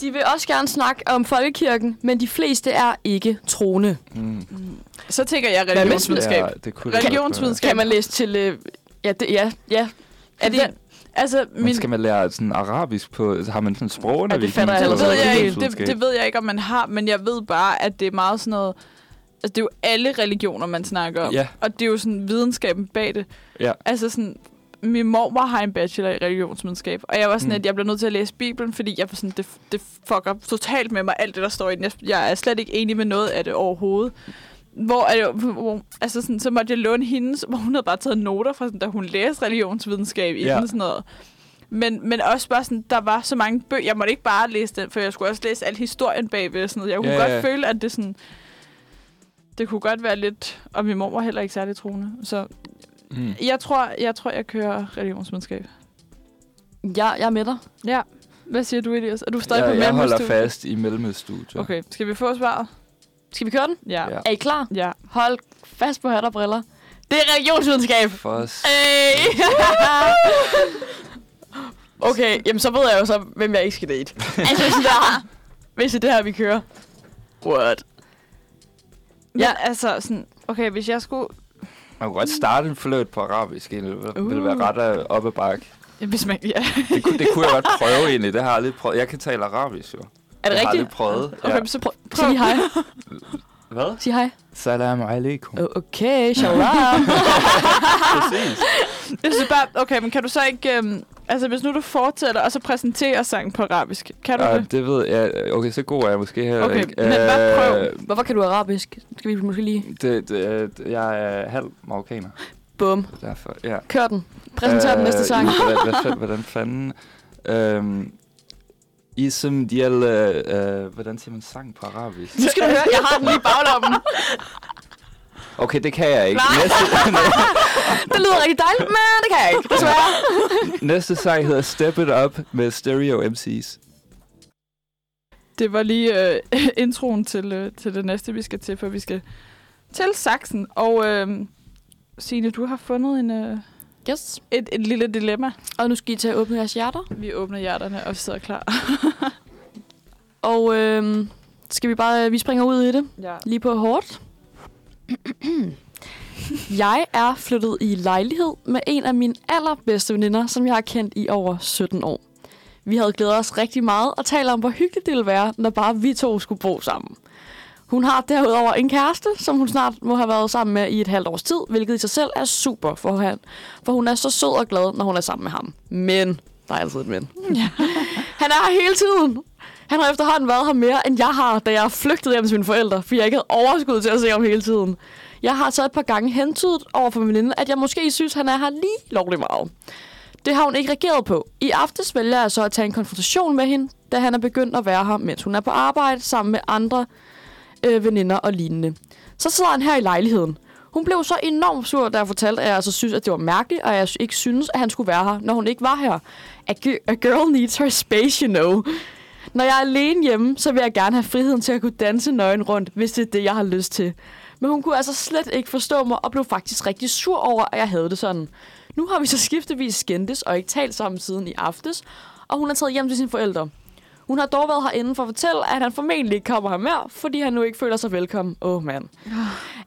B: De vil også gerne snakke om folkekirken, men de fleste er ikke troende.
C: Mm.
A: Så tænker jeg
B: med
A: religionsvidenskab.
C: Ja, det kunne det godt være.
A: Religionsvidenskab.
B: Kan man læse til... Øh, ja, det, ja, ja. Er
A: Fordi,
B: det,
A: altså,
C: Men
A: min,
C: skal man lære sådan arabisk på... altså, Har man sådan
B: Ja, det
C: sprogundervisning?
B: fatter jeg
A: det,
B: allerede
A: ved jeg
B: ikke.
A: ikke, det, det ved jeg ikke, om man har, men jeg ved bare, at det er meget sådan noget... Altså, det er jo alle religioner, man snakker om.
C: Ja.
A: Og det er jo sådan videnskaben bag det.
C: Ja.
A: Altså sådan, min mormor har en bachelor i religionsvidenskab, og jeg var sådan,
C: Mm.
A: mm. at jeg blev nødt til at læse Bibelen, fordi jeg var sådan, det, det fucker totalt med mig, alt det, der står i den. Jeg, jeg er slet ikke enig med noget af det overhovedet. Hvor, er det, hvor altså sådan, så måtte jeg låne hendes, hvor hun havde bare taget noter fra, sådan, da hun læste religionsvidenskab i
C: Ja.
A: ja. den, sådan noget. Men, men også bare sådan, der var så mange bøger. Jeg måtte ikke bare læse den, for jeg skulle også læse al historien bagved. og Sådan noget. Jeg kunne
C: Ja,
A: ja, godt
C: ja.
A: føle, at det sådan... Det kunne godt være lidt... Og min mor var heller ikke særlig troende. Så
C: Mm.
A: jeg tror, jeg, tror, jeg kører religionsvidenskab.
B: jeg, jeg er med dig.
A: Ja. Hvad siger du, Elias? Er du stadig
C: Jeg,
A: på
C: jeg holder
A: mellemstudiet?
C: fast i mellemøststudier.
A: Okay, skal vi få svaret?
B: Skal vi køre den?
A: Ja.
C: Ja.
A: Ja.
B: Er I klar?
A: ja.
B: Hold fast på hat og briller. Det er religionsvidenskab.
C: For os.
B: Hey. *laughs* okay, jamen så ved jeg jo så, hvem jeg ikke skal date. *laughs* altså, hvis det er, hvis det er det her, vi kører. What?
A: Men
B: Ja.
A: altså sådan... Okay, hvis jeg skulle...
C: Man kunne godt starte en fløjt på arabisk. egentlig. Det ville
A: Uh.
C: være ret øh, op ad bakke.
A: Hvis man, ja.
C: Det, kunne- det kunne jeg godt prøve egentlig. Det har jeg aldrig prøvet. Jeg kan tale arabisk jo.
B: Er det
C: jeg har
B: rigtigt?
C: aldrig
A: *laughs*
C: prøvet.
A: Ah, Okay, så prøv.
B: Sig lige hej.
C: Hvad?
B: Sig hej.
C: Salam alaikum.
B: Oh, Okay, shalom.
C: *laughs* Præcis.
A: Jeg synes bare... Okay, men kan du så ikke... Øhm, altså, hvis nu du fortsætter, og så præsenterer sangen på arabisk. Kan du
C: Ja,
A: det?
C: det ved jeg. Okay, så god er jeg måske heller
A: Okay,
C: ikke.
A: men bare
C: Øh,
A: prøv.
B: Hvorfor kan du arabisk? Skal vi måske lige...
C: Det, det, øh, det, jeg er halv marokkaner.
B: Bum.
C: så Derfor, ja.
B: Kør den. Præsenter øh, den næste
C: *laughs*
B: sang.
C: Hvordan, hvordan, hvordan fanden... Øh, Ism dial... Øh, øh, hvordan siger man sang på arabisk?
B: Nu skal du høre, jeg har den lige i baglommen.
C: Okay, det kan jeg ikke.
B: Nej.
C: Næste,
B: *laughs*
C: *laughs*
B: Det lyder rigtig dejligt, men det kan jeg ikke. Desværre.
C: næste sang hedder Step It Up med Stereo MC's.
A: Det var lige øh, *laughs* introen til, øh, til det næste, vi skal til, for vi skal til Saxen. Og øh, Signe, du har fundet en, øh,
B: Yes.
A: et, et lille dilemma.
B: Og nu skal I til at åbne jeres hjerter.
A: Vi åbner hjerterne, og vi sidder klar.
B: Og øhm, skal vi bare... Vi springer ud i det.
A: Ja.
B: Lige på hårdt. jeg er flyttet i lejlighed med en af mine allerbedste veninder, som jeg har kendt i over 17 år. Vi havde glædet os rigtig meget og taler om, hvor hyggeligt det ville være, når bare vi to skulle bo sammen. Hun har derudover en kæreste, som hun snart må have været sammen med i et halvt års tid, hvilket i sig selv er super for, han, for hun er så sød og glad, når hun er sammen med ham. Men, der er altid et men. Han er her hele tiden. Han har efterhånden været her mere, end jeg har, da jeg flygtede hjem til mine forældre, fordi jeg ikke havde overskud til at se ham hele tiden. Jeg har så et par gange hentydet over for min veninde, at jeg måske synes, han er her lige lovlig meget. Det har hun ikke reageret på. I aftes vælger jeg så at tage en konfrontation med hende, da han er begyndt at være her, mens hun er på arbejde sammen med andre øh, veninder og lignende. Så sidder han her i lejligheden. Hun blev så enormt sur, da jeg fortalte, at jeg altså synes, at det var mærkeligt, og jeg ikke synes, at han skulle være her, når hun ikke var her. A, gi- a girl needs her space, you know. Når jeg er alene hjemme, så vil jeg gerne have friheden til at kunne danse nøgen rundt, hvis det er det, jeg har lyst til. Men hun kunne altså slet ikke forstå mig, og blev faktisk rigtig sur over, at jeg havde det sådan. Nu har vi så skiftevis skændtes og ikke talt sammen siden i aftes, og hun er taget hjem til sine forældre. Hun har dog været herinde for at fortælle, at han formentlig ikke kommer her mere, fordi han nu ikke føler sig velkommen. Åh, Ah. oh, mand.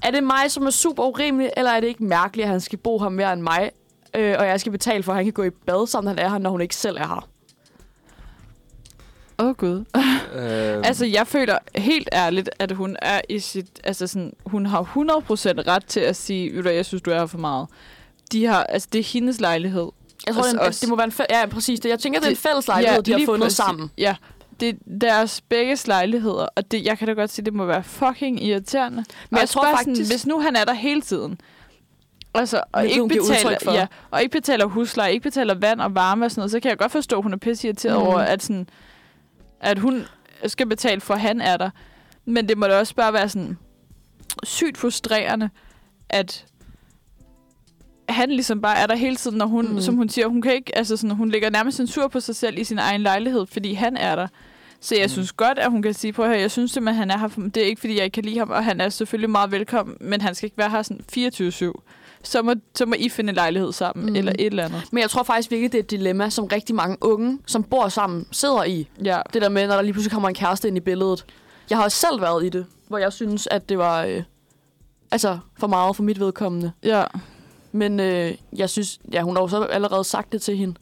B: Er det mig, som er super urimelig, eller er det ikke mærkeligt, at han skal bo her mere end mig? øh, og jeg skal betale for, at han kan gå i bad, sammen han er her, når hun ikke selv er her.
A: Åh, oh, Gud.
C: Øh,
A: Altså, jeg føler helt ærligt, at hun er i sit... Altså, sådan, hun har 100% ret til at sige, ved du hvad, jeg synes, du er her for meget. De har, altså, det er hendes lejlighed.
B: Jeg tror,
A: Os-
B: det, er en,
A: os.
B: det må være en fæ- Ja, præcis. Det, jeg tænker, Altså, det er en
A: Det-
B: fælles lejlighed, de har
A: lige
B: fundet
A: præcis.
B: sammen.
A: Ja, det er deres begges lejligheder, og det, jeg kan da godt sige, det må være fucking irriterende. Men jeg tror faktisk... Sådan, hvis nu han er der hele tiden, altså, og,
B: Hvilket
A: ikke
B: hun giver
A: betaler,
B: udtryk for.
A: ja, og ikke betaler husleje, ikke betaler vand og varme og sådan noget, så kan jeg godt forstå, at hun er pisse irriteret
B: Mhm.
A: mm. over, at, sådan, at hun skal betale for, at han er der. Men det må da også bare være sådan sygt frustrerende, at han ligesom bare er der hele tiden, når hun,
B: Mhm.
A: mm. som hun siger, hun kan ikke, altså sådan, hun lægger nærmest en sur på sig selv i sin egen lejlighed, fordi han er der. Så jeg
C: Mm.
A: mm. synes godt, at hun kan sige, på her, jeg synes simpelthen, han er her. for- Det er ikke, fordi jeg ikke kan lide ham, og han er selvfølgelig meget velkommen, men han skal ikke være her sådan 24-7. Så må, så må I finde en lejlighed sammen,
B: Mm.
A: mm. eller et eller andet.
B: Men jeg tror faktisk virkelig, det er et dilemma, som rigtig mange unge, som bor sammen, sidder i.
A: Ja.
B: Det der med, når der lige pludselig kommer en kæreste ind i billedet. Jeg har også selv været i det, hvor jeg synes, at det var øh, altså for meget for mit vedkommende.
A: ja.
B: Men øh, jeg synes, ja, hun har jo så allerede sagt det til hende.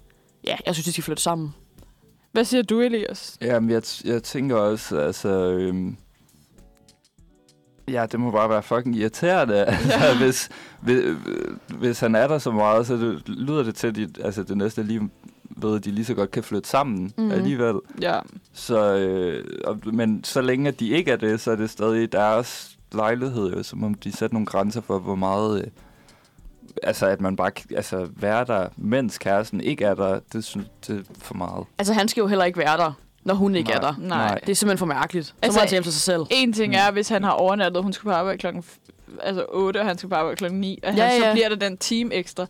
B: Ja, jeg synes, de skal flytte sammen.
A: Hvad siger du, Elias?
C: Jamen, jeg, t- jeg tænker også, altså... Øhm, ja, det må bare være fucking irriterende, *laughs* altså, ja. hvis, hvis, hvis han er der så meget, så det, lyder det til, at de, altså, det næste lige ved, at de lige så godt kan flytte sammen
B: Mhm.
C: mm. alligevel.
A: Ja.
C: Så, øh, og- men så længe at de ikke er det, så er det stadig deres lejlighed, jo, som om de sætter nogle grænser for, hvor meget... Øh, altså, at man bare... kan- Altså, være der, mens kæresten ikke er der, det synes det er for meget.
B: Altså, han skal jo heller ikke være der, når hun ikke
C: Nej.
B: er der.
A: Nej.
C: Nej.
B: Det er simpelthen for mærkeligt. Så altså,
A: Altså,
B: må han tage hjem til sig selv.
A: En
C: Mm.
A: ting er, hvis han har overnattet, hun skal på arbejde klokken f- altså 8, og han skal på arbejde klokken 9, og
B: Ja,
A: han, så
B: ja.
A: bliver der den time ekstra.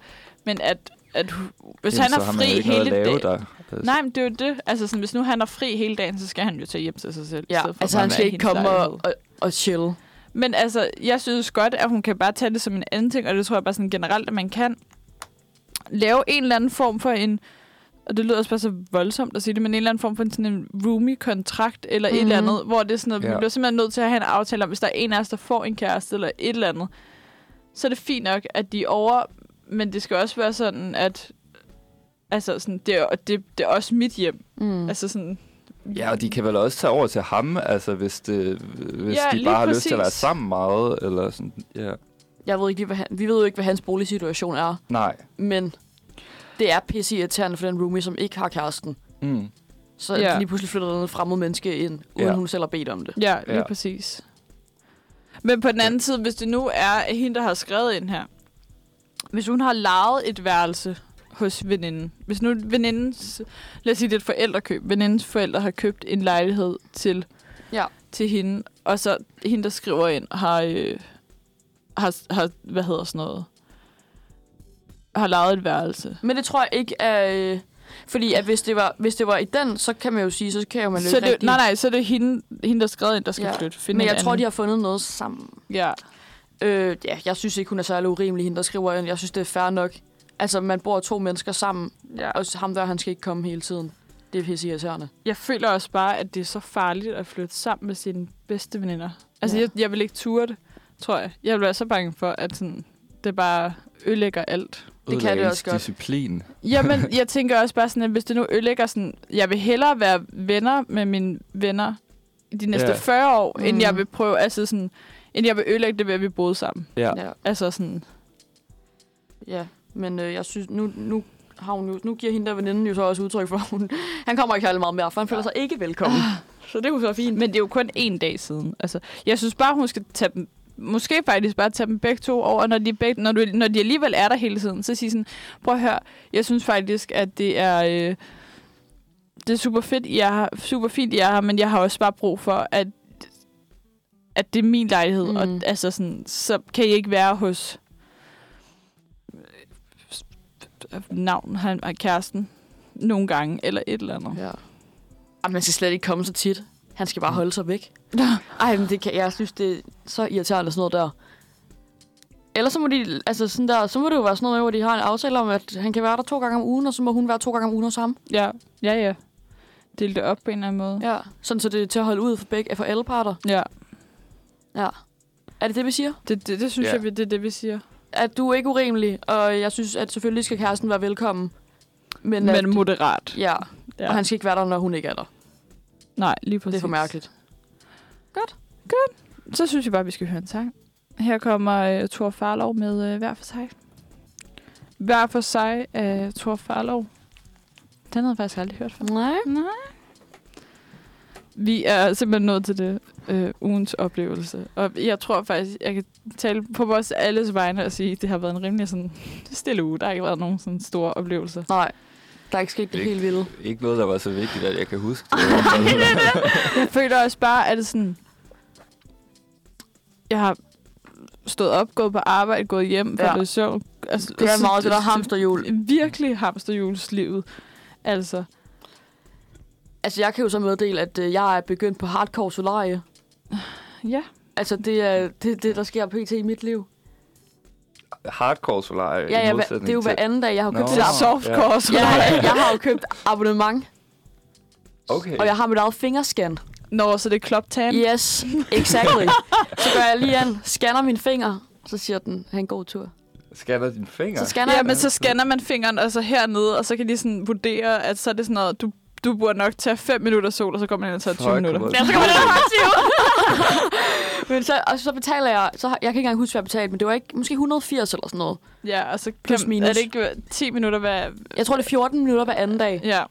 A: Men at, at hu- hvis
C: Jamen,
A: han
C: så
A: er
C: har man jo
A: fri
C: ikke noget
A: hele
C: at lave
A: dagen...
C: der. Altså.
A: Nej, men det er jo det. Altså, sådan, hvis nu han er fri hele dagen, så skal han jo tage hjem til sig selv. i
B: Ja,
A: stedet for
B: altså
A: bare
B: han
A: at
B: skal
A: være i
B: ikke
A: hendes
B: komme og,
A: lejlighed.
B: og, og chille.
A: Men altså, jeg synes godt, at hun kan bare tage det som en anden ting, og det tror jeg bare sådan generelt, at man kan lave en eller anden form for en, og det lyder også bare så voldsomt at sige det, men en eller anden form for en, sådan en roomie-kontrakt eller mm-hmm. et eller
B: Mhm.
A: andet, hvor det er sådan noget, ja.
C: Ja.
A: vi bliver simpelthen nødt til at have en aftale om, hvis der er en af os, der får en kæreste eller et eller andet, så er det fint nok, at de er over, men det skal også være sådan, at altså sådan, det, er, det, det er også mit hjem.
B: Mm.
A: Altså sådan,
C: Ja, og de kan vel også tage over til ham, altså hvis, det, hvis
A: Ja,
C: ja, de
A: lige
C: bare har lyst til at være
A: præcis.
C: sammen meget, eller sådan, ja.
B: Jeg ved ikke lige, hvad han, vi ved jo ikke, hvad hans boligsituation er,
C: Nej.
B: men det er pisse irriterende for den roomie, som ikke har kæresten.
C: Mm.
B: Så
A: Ja.
B: ja. lige pludselig flytter der noget fremmed menneske ind, uden
C: Ja.
B: hun selv har bedt om det.
A: Ja, lige
C: Ja.
A: ja. præcis. Men på den anden side, hvis det nu er hende, der har skrevet ind her. Hvis hun har lejet et værelse hos veninden. Hvis nu venindens, lad os sige, det er et forældrekøb. Venindens forældre har købt en lejlighed til,
B: Ja.
A: til hende. Og så hende, der skriver ind, har, øh, har, har hvad hedder sådan noget, har lejet et værelse.
B: Men det tror jeg ikke er... Øh, fordi at hvis, det var, hvis det var i den, så kan man jo sige, så kan jo man jo
A: så
B: ikke
A: det,
B: rigtig...
A: nej, nej, så er det hende, hende der har skrevet ind, der skal
B: Ja.
A: ja. flytte. Finde
B: Men
A: en
B: jeg tror, de
A: anden.
B: har fundet noget sammen.
A: Ja.
B: Øh, ja, jeg synes ikke, hun er særlig urimelig, hende der skriver ind. Jeg synes, det er fair nok. Altså, man bor to mennesker sammen,
A: ja.
B: og ham der, han skal ikke komme hele tiden. Det er pisse irriterende.
A: jeg føler også bare, at det er så farligt at flytte sammen med sine bedste veninder. Altså,
B: Ja.
A: ja. jeg, jeg vil ikke ture det, tror jeg. Jeg vil være så bange for, at sådan, det bare ødelægger alt.
B: det
C: Ødelægge
B: også
C: ens
B: godt.
C: Disciplin.
A: Jamen, *laughs* jeg tænker også bare sådan, at hvis det nu ødelægger sådan... Jeg vil hellere være venner med mine venner de næste
C: Ja.
A: ja. 40 år, mm. end
B: Mhm.
A: jeg vil prøve... Altså sådan, end jeg vil ødelægge det ved, at vi boede sammen.
C: Ja.
B: Ja.
A: Altså sådan...
B: Ja, men øh, jeg synes, nu, nu har hun jo, nu giver hende der veninden jo så også udtryk for, at hun, han kommer ikke særlig meget mere, for han føler sig ikke velkommen.
A: Så det er jo så fint. Men det er jo kun en dag siden. Altså, jeg synes bare, hun skal tage dem Måske faktisk bare tage dem begge to over, når de, begge, når, du, når de alligevel er der hele tiden. Så sige sådan, prøv at høre, jeg synes faktisk, at det er, øh, det er super, fedt, I er her, super fint, I er her, men jeg har også bare brug for, at, at det er min lejlighed. Mm. Og,
B: Mm.
A: altså sådan, så kan I ikke være hos øh, navn, han er kæresten, nogle gange, eller et eller andet.
B: Ja. Ej, man skal slet ikke komme så tit. Han skal bare holde sig væk. Ej, men det kan, jeg synes, det er så irriterende sådan noget der. Ellers så må, de, altså sådan der, så må det jo være sådan noget med, hvor de har en aftale om, at han kan være der to gange om ugen, og så må hun være to gange om ugen hos ham.
A: Ja, ja, ja. Del det op på en eller anden måde.
B: Ja. Sådan så det er til at holde ud for, begge, for alle parter.
A: Ja,
B: Er det det, vi siger?
A: det, det, det synes
C: Ja.
A: ja. jeg, vi- det er det, vi siger.
B: at du er ikke urimelig, og jeg synes, at selvfølgelig skal kæresten være velkommen. Men,
A: Men,
B: at,
A: men moderat.
B: ja,
A: Ja.
B: og han skal ikke være der, når hun ikke er der.
A: Nej, lige præcis.
B: Det er for mærkeligt.
A: Så synes jeg bare, vi skal høre en sang. Her kommer uh, Thor Farlov med uh, Hver for sig. Hver for sig af uh, Thor Farlov. Den havde jeg faktisk aldrig hørt fra.
B: Nej.
A: Nej. Vi er simpelthen nået til det øh, ugens oplevelse. Og jeg tror faktisk, jeg kan tale på vores alles vegne og sige, at det har været en rimelig sådan stille uge. Der har ikke været nogen sådan store oplevelser.
B: Nej. Der er ikke sket det
C: Ikke.
B: helt vilde.
C: Ikke noget, der var så vigtigt, at jeg kan
B: *laughs*
C: huske. Det var,
A: Jeg føler også bare, at det sådan... Jeg har stået op, gået på arbejde, gået hjem,
B: Ja.
A: ja. det sjovt. Altså,
B: Det er
A: sådan-
B: meget det der hamsterhjul.
A: Virkelig hamsterhjulslivet. Altså,
B: Altså, jeg kan jo så meddele, at øh, jeg er begyndt på hardcore solarie.
A: ja.
B: Altså, det er det, det, der sker pt. i mit liv.
C: Hardcore solar.
B: Ja, ja, hva- det er jo hver anden dag, jeg har
C: Nå.
B: købt
A: Det er
B: et ab-
A: softcore, *laughs* ja.
B: ja, jeg har jo købt abonnement,
C: Okay.
B: og jeg har mit eget fingerscan.
A: Nå, så det er kloptan.
B: Yes, exactly. Så gør jeg lige an, scanner min finger, så siger den, have en god tur.
C: Scanner dine fingre.
B: Så scanner
A: Ja,
B: jeg
A: men så scanner man fingeren, og så hernede, og så kan de sådan vurdere, at så er det sådan noget, du, du burde nok tage 5 minutter sol, og så går man ind og tager
C: Fuck,
A: 20 minutter.
C: hvor-
B: Ja, så kan man lave *laughs* Men så, og så betaler jeg, så har, jeg kan ikke engang huske, hvad jeg betalte, men det var ikke, måske 180 eller sådan noget.
A: Ja, og så kan,
B: Plus minus.
A: er det ikke 10 minutter hver...
B: Jeg tror, det er 14 minutter hver anden dag,
A: Ja,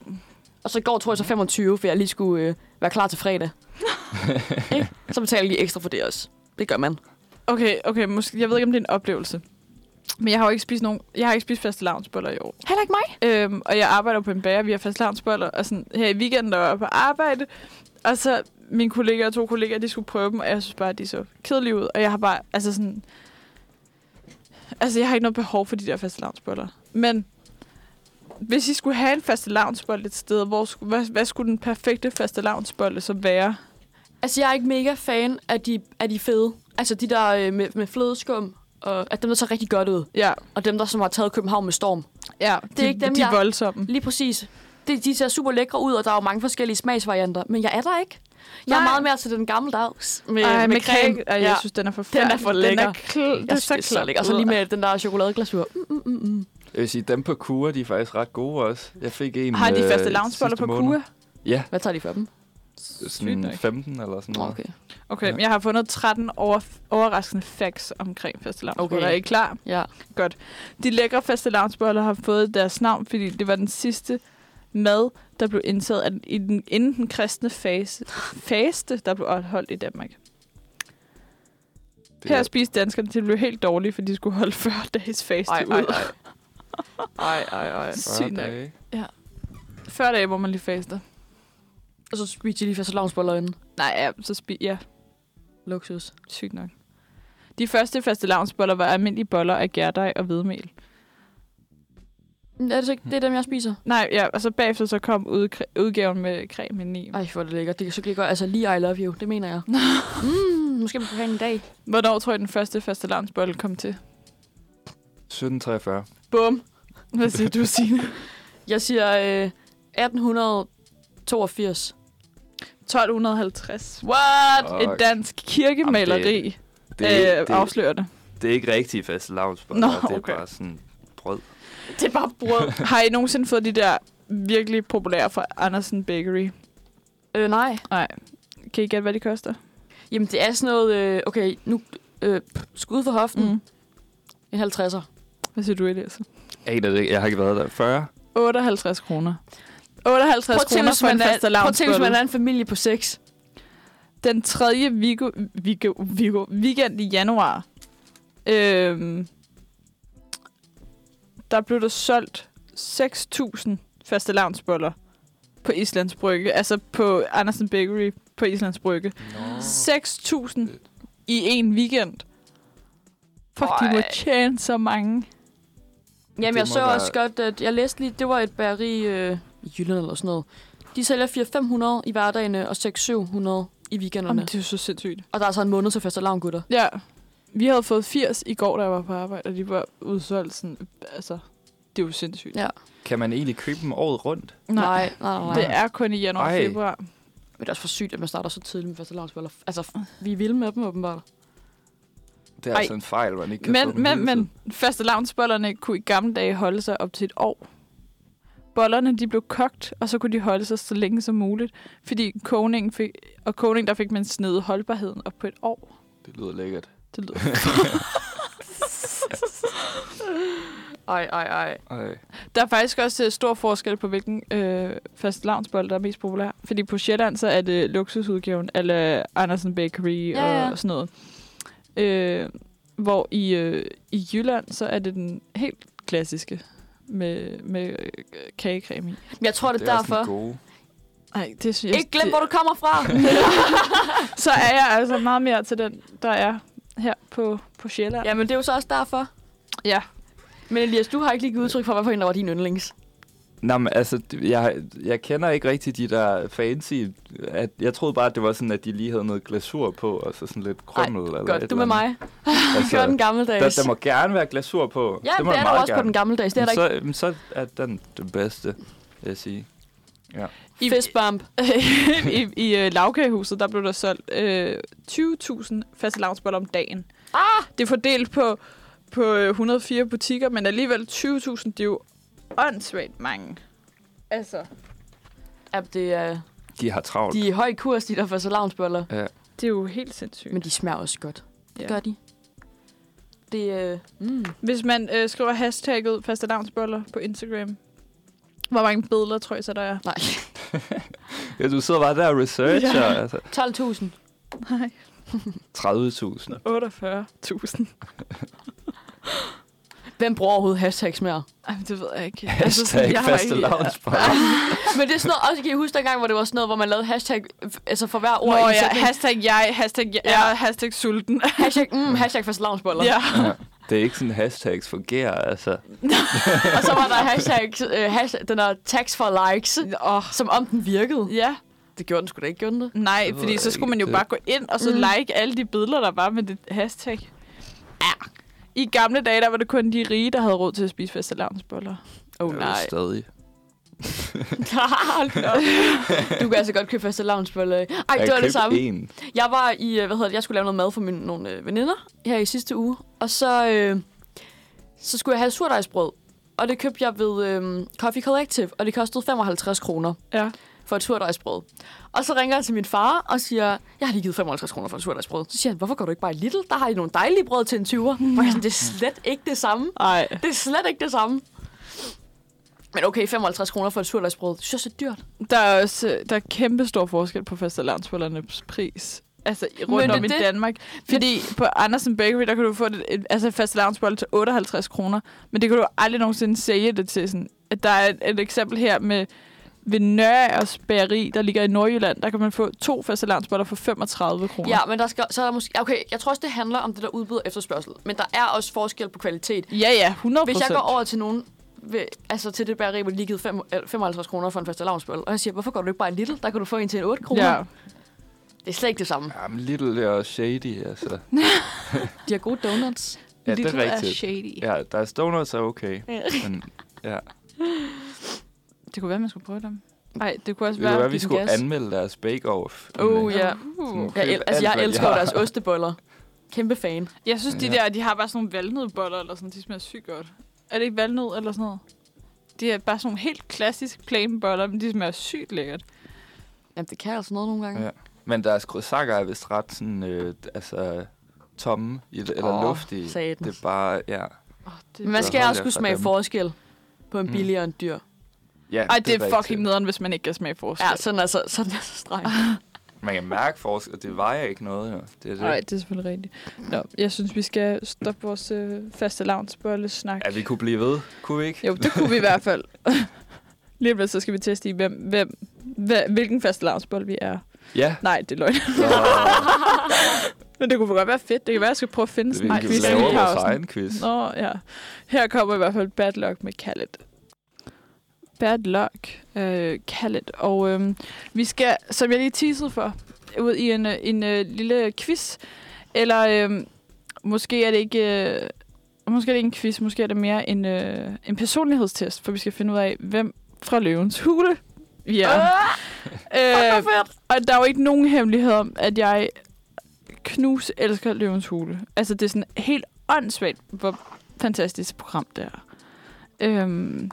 B: og så i går tror jeg så 25, for jeg lige skulle øh, være klar til fredag. Ikke? så betaler jeg lige ekstra for det også. Det gør man.
A: okay, okay, måske, jeg ved ikke, om det er en oplevelse. Men jeg har jo ikke spist nogen, jeg har ikke spist faste lavnsboller i år.
B: Heller ikke mig.
A: Øhm, og jeg arbejder jo på en bager, vi har faste lavnsboller, og sådan, her i weekenden der var jeg på arbejde, og så mine kollegaer og to kollegaer, de skulle prøve dem, og jeg synes bare, at de så kedelige ud, og jeg har bare, altså sådan, altså jeg har ikke noget behov for de der faste lavnsboller. Men hvis I skulle have en faste lavnsbold et sted, hvor, sku- hvad, hvad skulle den perfekte faste lavnsbolle så være?
B: Altså, jeg er ikke mega fan af de, af de fede. Altså, de der øh, med, med flødeskum, og at dem, der så rigtig godt ud.
A: Ja,
B: Og dem, der som har taget København med storm.
A: ja det er de,
B: ikke dem,
A: de er
B: jeg-
A: voldsomme.
B: Lige præcis. De, de ser super lækre ud, og der er jo mange forskellige smagsvarianter. Men jeg er der ikke. Jeg er
A: Nej.
B: meget mere til den gamle dags. Med,
A: Ej, med
B: creme.
A: kage, Ej, jeg synes, den er forfærdelig.
B: Den er for lækker.
A: Den er, kl- den
B: jeg
A: er
B: synes, det er
A: så,
B: så lækker. Og så lige med den der chokoladeglasur. Mm, mm, mm, mm.
C: Jeg vil sige, dem på Kura, de er faktisk ret gode også. Jeg fik en
A: Har de
C: øh,
A: faste lavnsboller
C: sidste
A: på
C: måned.
A: Kua?
C: Ja,
B: Hvad tager de for dem?
A: Sygt nok.
C: sådan 15 eller sådan
B: Nå,
C: noget.
B: okay.
A: Okay,
C: Ja.
A: men jeg har fundet 13 over, overraskende facts omkring fastelavnsboller.
B: Okay.
A: Okay. Er I klar?
B: Ja.
A: De lækre fastelavnsboller har fået deres navn, fordi det var den sidste mad, der blev indtaget af den, i den, inden den kristne fase, faste, der blev holdt i Danmark.
C: Det
A: Her
C: er-
A: spiste danskerne til det blev helt dårlige, fordi de skulle holde 40 dages faste
B: Ej,
A: ud.
B: ej, ej. Ej, ej, ej.
A: Sygt nok.
C: dage.
A: 40 dage, hvor man lige faster.
B: Og så spiser de lige fastelavnsboller inden.
A: Nej, ja, så spi ja,
B: Luksus.
A: sygt nok. De første fastelavnsboller var almindelige boller af gærdej og hvedemel.
B: Men Er det så ikke det er dem, jeg spiser?
A: Nej, ja, og så bagefter så kom ud, udgaven med creme indeni.
B: Ej, hvor er det lækkert. Det kan så ikke gøre. Altså, lige I love you. Det mener jeg. *laughs* mm, måske man kan have en i dag.
A: Hvornår tror jeg, den første faste lavnsbolle kom til?
C: 1743.
B: Bum.
A: Hvad siger du,
B: *laughs*
A: Signe?
B: Jeg siger øh, 1882.
A: 1250.
B: What?
C: Fuck.
A: Et dansk kirkemaleri
C: Det,
A: det, øh,
C: det, det,
A: afslører det.
C: det, er ikke rigtig fast lavnsboller.
A: Nå,
C: Det er
A: okay.
C: bare sådan brød.
B: Det er bare brød.
A: *laughs* Har I nogensinde fået de der virkelig populære fra Andersen Bakery?
B: øh, nej.
A: Kan I gætte, hvad de koster?
B: Jamen, det er sådan noget... Øh, okay, nu... Øh, skud for hoften. Mm. En 50'er.
A: Hvad siger du, Elias?
C: Aner det ikke. Jeg har ikke været der. 40?
A: 58 kroner. 58 kroner for en faste
B: prøv at tænke, hvis man er
A: lavnsbolle.
B: en familie på seks.
A: Den 3. Vigo, Vigo, Vigo, weekend i januar, øhm, der blev der solgt 6.000 faste lavnsboller på Islands Brygge. Altså på Andersen Bakery på Islands Brygge.
C: Nå.
A: 6.000 i en weekend. Fuck, de må
B: Ej.
A: tjene så mange.
B: Jamen,
C: Det
B: jeg
C: må
B: så
C: være-
B: også godt, at jeg læste lige, det var et bageri øh, i Jylland eller sådan noget. De sælger 400-500 i hverdagene og 600-700 i weekenderne.
A: Jamen, det er jo så sindssygt.
B: Og der er så en måned til første alarm, gutter.
A: Ja. Vi havde fået 80 i går, da jeg var på arbejde, og de var udsolgt sådan, altså, det er jo sindssygt.
B: Ja.
C: Kan man egentlig købe dem året rundt?
B: nej, nej. nej.
A: Det er kun i januar og
C: Ej.
A: februar.
B: *laughs* Men det er også for sygt, at man starter så tidligt med faste lavnsboller. Altså, vi er vilde med dem åbenbart.
C: Det er
A: Ej.
C: Ej. altså en fejl, man ikke kan stå med
A: Men,
C: hele
A: men,
C: tiden.
A: men faste lavnsbollerne kunne i gamle dage holde sig op til et år. Bollerne de blev kogt, og så kunne de holde sig så længe som muligt, fordi kogningen fik, og kogning der fik man snedet holdbarheden op på et år.
C: Det lyder lækkert.
A: Det lyder... *laughs* ej, ej, ej.
C: Ej.
A: Der er faktisk også øh, stor forskel på, hvilken øh, fast lavnsbold, der er mest populær. Fordi på Sjælland, så er det luksusudgaven, eller Andersen Bakery ja,
B: Ja,
A: ja.
B: ja.
A: og sådan noget. Øh, hvor i, øh, i Jylland, så er det den helt klassiske med, med øh, kagecreme i.
B: Men jeg tror, det,
C: Det
B: det
C: er
B: er
C: også en
B: derfor.
C: gode.
A: Ej, det synes jeg...
B: Ikke glem, hvor du kommer
C: *laughs*
B: fra.
A: Så er jeg altså meget mere til den, der er her på, på Sjælland.
B: Jamen, det er jo så også derfor.
A: ja.
B: Men Elias, du har ikke lige givet udtryk for, hvorfor en der var din yndlings.
C: Nå, men altså, d- jeg, jeg kender ikke rigtig de der fancy. At, jeg troede bare, at det var sådan, at de lige havde noget glasur på, og så sådan lidt krummel. Ej, eller
B: Godt,
C: et
B: du med
C: eller andet.
B: mig.
C: Altså,
B: Gør den
C: der,
B: gammeldags.
C: der, må gerne være glasur på.
B: Ja,
C: det, må
B: det er
C: der
B: der
C: meget
B: også på
C: gerne.
B: den gammeldags. Det er der ikke
C: så, ikke... så er den det bedste, vil jeg sige.
A: I-
B: fistbump.
A: *laughs* I, i øh, lavkagehuset, der blev der solgt øh, 20.000 faste lavnsboller om dagen. Ah! Det er fordelt på, på øh, 104 butikker, men alligevel 20.000, det er jo åndssvagt mange. Altså,
B: Ja, det er,
C: De har travlt.
B: de er i høj kurs, de der fastelavnsboller.
A: det er jo helt sindssygt.
B: Men de smager også godt. Det
A: Ja.
B: gør de. Det er... Øh, mm.
A: Hvis man øh, skriver hashtagget faste lavnsboller på Instagram, hvor mange billeder, tror jeg så, der er?
B: Nej,
C: Ja, du sidder bare der og researcher. Ja. Altså,
B: 12.000.
A: Nej,
C: 30.000.
A: 48.000.
B: Hvem bruger overhovedet hashtags mere?
A: Ej, men det ved jeg ikke. Altså,
C: Hashtag
A: jeg har
C: faste
A: ikke-
B: *laughs*
C: lavnsboller.
B: Men det er sådan noget, også kan I huske dengang, hvor det var sådan noget, hvor man lavede hashtag, f- altså for hver ord
A: Nå,
B: i en
A: ja, *laughs*
B: sætning.
A: hashtag jeg, hashtag jeg,
B: Ja.
A: hashtag sulten.
B: hashtag, mm, hashtag fastelavnsboller.
A: ja.
C: Ja. Det er ikke sådan, hashtags fungerer, altså.
B: Og så var der hashtag, øh, hashtag, den der tax for likes,
A: Åh,
B: som om den virkede.
A: ja.
B: Det gjorde den sgu da ikke, gjorde *laughs* den det?
A: Nej,
C: Det ved
A: fordi
C: jeg
A: så
C: ikke.
A: skulle man jo
C: Det-
A: bare gå ind og så
B: Mm.
A: like alle de billeder, der var med det hashtag. Ja. I gamle dage, der var det kun de rige, der havde råd til at spise fastelavnsboller.
B: Oh
C: Jeg vil
B: nej.
C: Stadig.
B: Hold da op. du kan altså godt købe fastelavnsboller. Ej, det var
C: jeg
B: det samme.
C: en.
B: Jeg var i, øh, hvad hedder det, jeg skulle lave noget mad for mine, nogle øh, veninder her i sidste uge. Og så, øh, så skulle jeg have surdejsbrød. Og det købte jeg ved øh, Coffee Collective, og det kostede 55 kroner
A: Ja.
B: for et surdejsbrød. Og så ringer jeg til min far og siger, jeg har lige givet 55 kroner for et surdejsbrød. Så siger han, hvorfor går du ikke bare i Lidl? Der har I nogle dejlige brød til en 20'er. Hvor jeg sådan, det er slet ikke det samme.
A: Ej.
B: Det er slet ikke det samme. Men okay, 55 kroner for et surdejsbrød, det synes jeg er dyrt.
A: Der er også øh, der er kæmpe stor forskel på fastelavnsbollernes pris. Altså i- rundt
B: Men det
A: om i
B: er det-
A: Danmark. Fordi på Andersen Bakery, der kan du få det, et, altså fastelavnsbolle til 58 kroner. Men det kan du aldrig nogensinde sælge det til. Sådan. At Der er et, et eksempel her med ved Nørres Bageri, der ligger i Nordjylland, der kan man få to fastelavnsboller for 35 kroner.
B: Ja, men der skal, så er der måske... Okay, jeg tror også, det handler om det der udbud og efterspørgsel. Men der er også forskel på kvalitet.
A: Ja, ja, 100
B: Hvis jeg går over til nogen, ved, altså til det bageri, hvor de lige givet fem- eller 55 kroner for en faste og jeg siger, hvorfor går du ikke bare en lille? Der kan du få en til en 8 kroner.
A: Ja.
B: Det er slet ikke det samme.
C: Jamen, Little og Shady, altså.
B: De har gode donuts.
C: Ja, det er rigtigt.
A: shady. Ja.
C: Ja, der er Stoners er okay.
A: *laughs*
C: Men ja,
A: Det kunne være, man skulle prøve dem. Nej, det kunne også
C: det være,
A: være,
C: være, vi
A: give den
C: skulle
A: gas.
C: anmelde deres bake-off.
B: Oh
C: Men,
B: ja.
A: Uh.
B: Jeg, el- altså,
C: Alt,
B: jeg
C: hvad de
B: elsker jo
C: har.
B: deres osteboller. Kæmpe fan.
A: Jeg synes, de
C: Ja.
A: der, de har bare sådan nogle valnødboller eller sådan, de smager sygt godt. Er det ikke valnød eller sådan noget? Det er bare sådan nogle helt klassisk plain boller, men de smager sygt lækkert.
B: Jamen, det kan altså noget nogle gange.
C: Ja. Men deres croissanter er vist ret sådan, øh, altså, tomme i- eller
B: Åh,
C: oh, luftige.
B: satans.
C: Det er bare, ja.
A: Oh, det
B: Men man
C: Så
B: skal
C: holder
B: også
C: jeg
B: kunne
C: fra
B: smage
C: dem.
B: forskel på en
C: Mm.
B: billig og en dyr.
C: ja
A: Ej, det er
C: rigtigt.
A: fucking nederen, hvis man ikke kan smage forskel.
B: Ja, sådan er, så, sådan er så *laughs* streng.
C: Man kan mærke forskel, og det vejer ikke noget. Jo. Det er det.
A: Nej, det er selvfølgelig rigtigt. Nå, jeg synes, vi skal stoppe vores øh, faste lavnsbolle-snak.
C: Ja, vi kunne blive ved, kunne vi ikke?
A: Jo, det kunne vi i hvert
C: *laughs*
A: fald. Lige om lidt, så skal vi teste i, hvem, hvem, hva- hvilken faste lavnsbolle vi er. *laughs*
C: Ja.
A: Nej, det er løgn.
C: Så, øh,
A: Men det kunne godt være fedt. Det kan være, jeg skal prøve at finde
C: vi
A: sådan en
C: kan
A: quiz
C: lave
A: i
C: vores
A: pausen.
C: egen quiz.
A: Nå, ja. Her kommer i hvert fald Bad Luck med Khaled. Bad Luck, øh, Khaled. Og øhm, vi skal, som jeg lige teasede for, ud i en, øh, en øh, lille quiz. Eller øhm, måske er det ikke... Øh, måske er det ikke en quiz, måske er det mere en, øh, en personlighedstest, for vi skal finde ud af, hvem fra løvens hule vi er.
B: Ah,
A: Øh,
B: hvor fedt.
A: og der er jo ikke nogen hemmelighed om, at jeg knus elsker Løvens Hule. Altså, det er sådan helt åndssvagt, hvor fantastisk program det er. Øhm.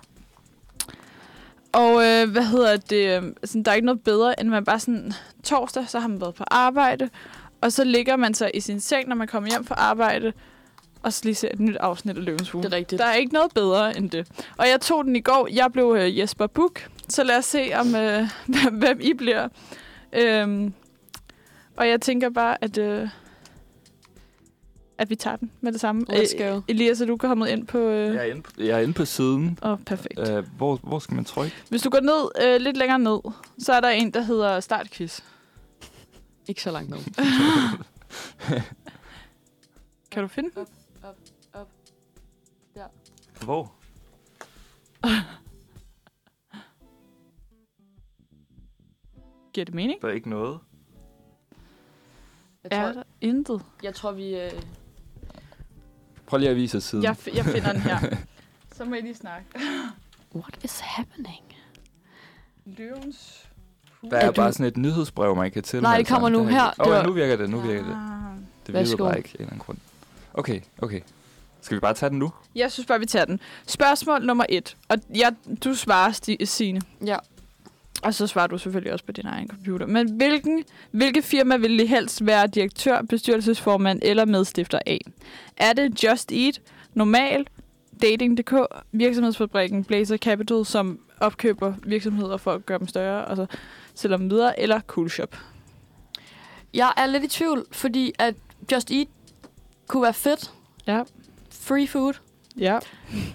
A: Og øh, hvad hedder det? øhm, Sådan, der er ikke noget bedre, end man bare sådan... Torsdag, så har man været på arbejde, og så ligger man sig i sin seng, når man kommer hjem fra arbejde, og så lige ser et nyt afsnit af Løvens Hule.
B: Det er rigtigt.
A: Der er ikke noget bedre end det. Og jeg tog den i går. Jeg blev øh, Jesper Buk. Så lad os se, om øh, *laughs* hvem- hvem I bliver. Øhm, og jeg tænker bare, at, øh, at vi tager den med det samme.
B: Let's
A: Øh,
B: go.
A: Elias, er du kommet ind på... Øh,
C: Jeg er inde på, jeg er inde på siden.
A: Åh, oh, perfekt.
C: Øh, hvor, hvor skal man trykke?
A: Hvis du går ned, øh, lidt længere ned, så er der en, der hedder Startquiz.
B: Ikke så langt nu.
A: Kan du finde den?
C: Hvor?
A: Giver det mening?
C: Der er ikke noget.
B: Jeg
A: Er
B: tror,
A: der intet?
B: jeg tror vi... Øh,
C: Prøv lige at vise os siden.
A: Jeg, fi- jeg finder den her.
C: *laughs*
A: Så må I lige snakke.
B: What is happening?
A: Løvens...
C: Der er,
B: Er
C: er
B: du-
C: bare sådan et nyhedsbrev, man kan tilmelde
B: Nej, det kommer
C: sig.
B: nu
C: Der er
B: her.
C: Ikke...
B: Det
C: Oh,
B: var-
C: nu virker det, nu virker det.
A: Ah.
C: Det virker
B: Værsgo.
C: bare ikke af en eller anden grund. Okay, okay. Skal vi bare tage den nu?
A: Jeg synes bare, vi tager den. Spørgsmål nummer et. Og jeg, du svarer, Sti- Signe.
B: Ja.
A: Og så svarer du selvfølgelig også på din egen computer. Men hvilken, hvilke firma vil I helst være direktør, bestyrelsesformand eller medstifter af? Er det Just Eat, Normal, Dating.dk, Virksomhedsfabrikken, Blazer Capital, som opkøber virksomheder for at gøre dem større, og så sælger dem videre, eller Cool Shop?
B: Jeg er lidt i tvivl, fordi at Just Eat kunne være fedt.
A: Ja.
B: Free food.
A: Ja.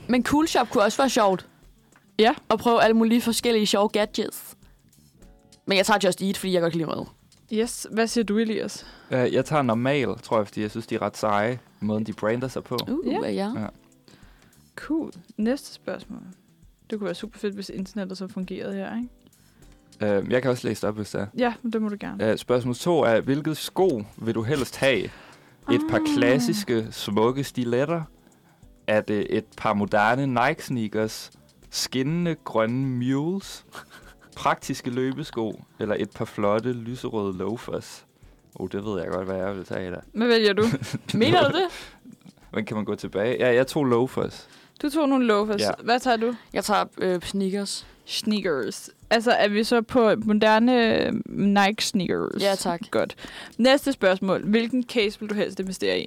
B: Men Cool Shop kunne også være sjovt.
A: Ja.
B: Og prøve alle mulige forskellige sjove gadgets. Men jeg tager Just Eat, fordi jeg godt kan lide mad.
A: Yes, hvad siger du, Elias?
C: Uh, jeg tager normal, tror jeg, fordi jeg synes, de er ret seje. Måden, de brander sig på.
B: Uh,
A: Ja.
B: ja.
A: Cool. Næste spørgsmål. Det kunne være super fedt, hvis internettet så fungerede her, ikke?
C: Uh, jeg kan også læse det op, hvis det er.
A: Ja, men det må du gerne.
C: Uh, spørgsmål 2 er, hvilket sko vil du helst have? Et
A: Ah.
C: par klassiske, smukke stiletter? Er det et par moderne Nike-sneakers? Skinnende grønne mules? Praktiske løbesko? Eller et par flotte, lyserøde loafers? Oh, det ved jeg godt, hvad jeg vil tage der.
A: Hvad vælger du?
B: Mener du det?
C: *laughs* Men kan man gå tilbage? Ja, jeg tog loafers.
A: Du tog nogle loafers.
C: Ja.
A: Ja. Hvad tager du?
B: Jeg tager øh, sneakers.
A: Sneakers. Altså, er vi så på moderne øh, Nike sneakers?
B: Ja, tak.
A: Godt. Næste spørgsmål. Hvilken case vil du helst investere i?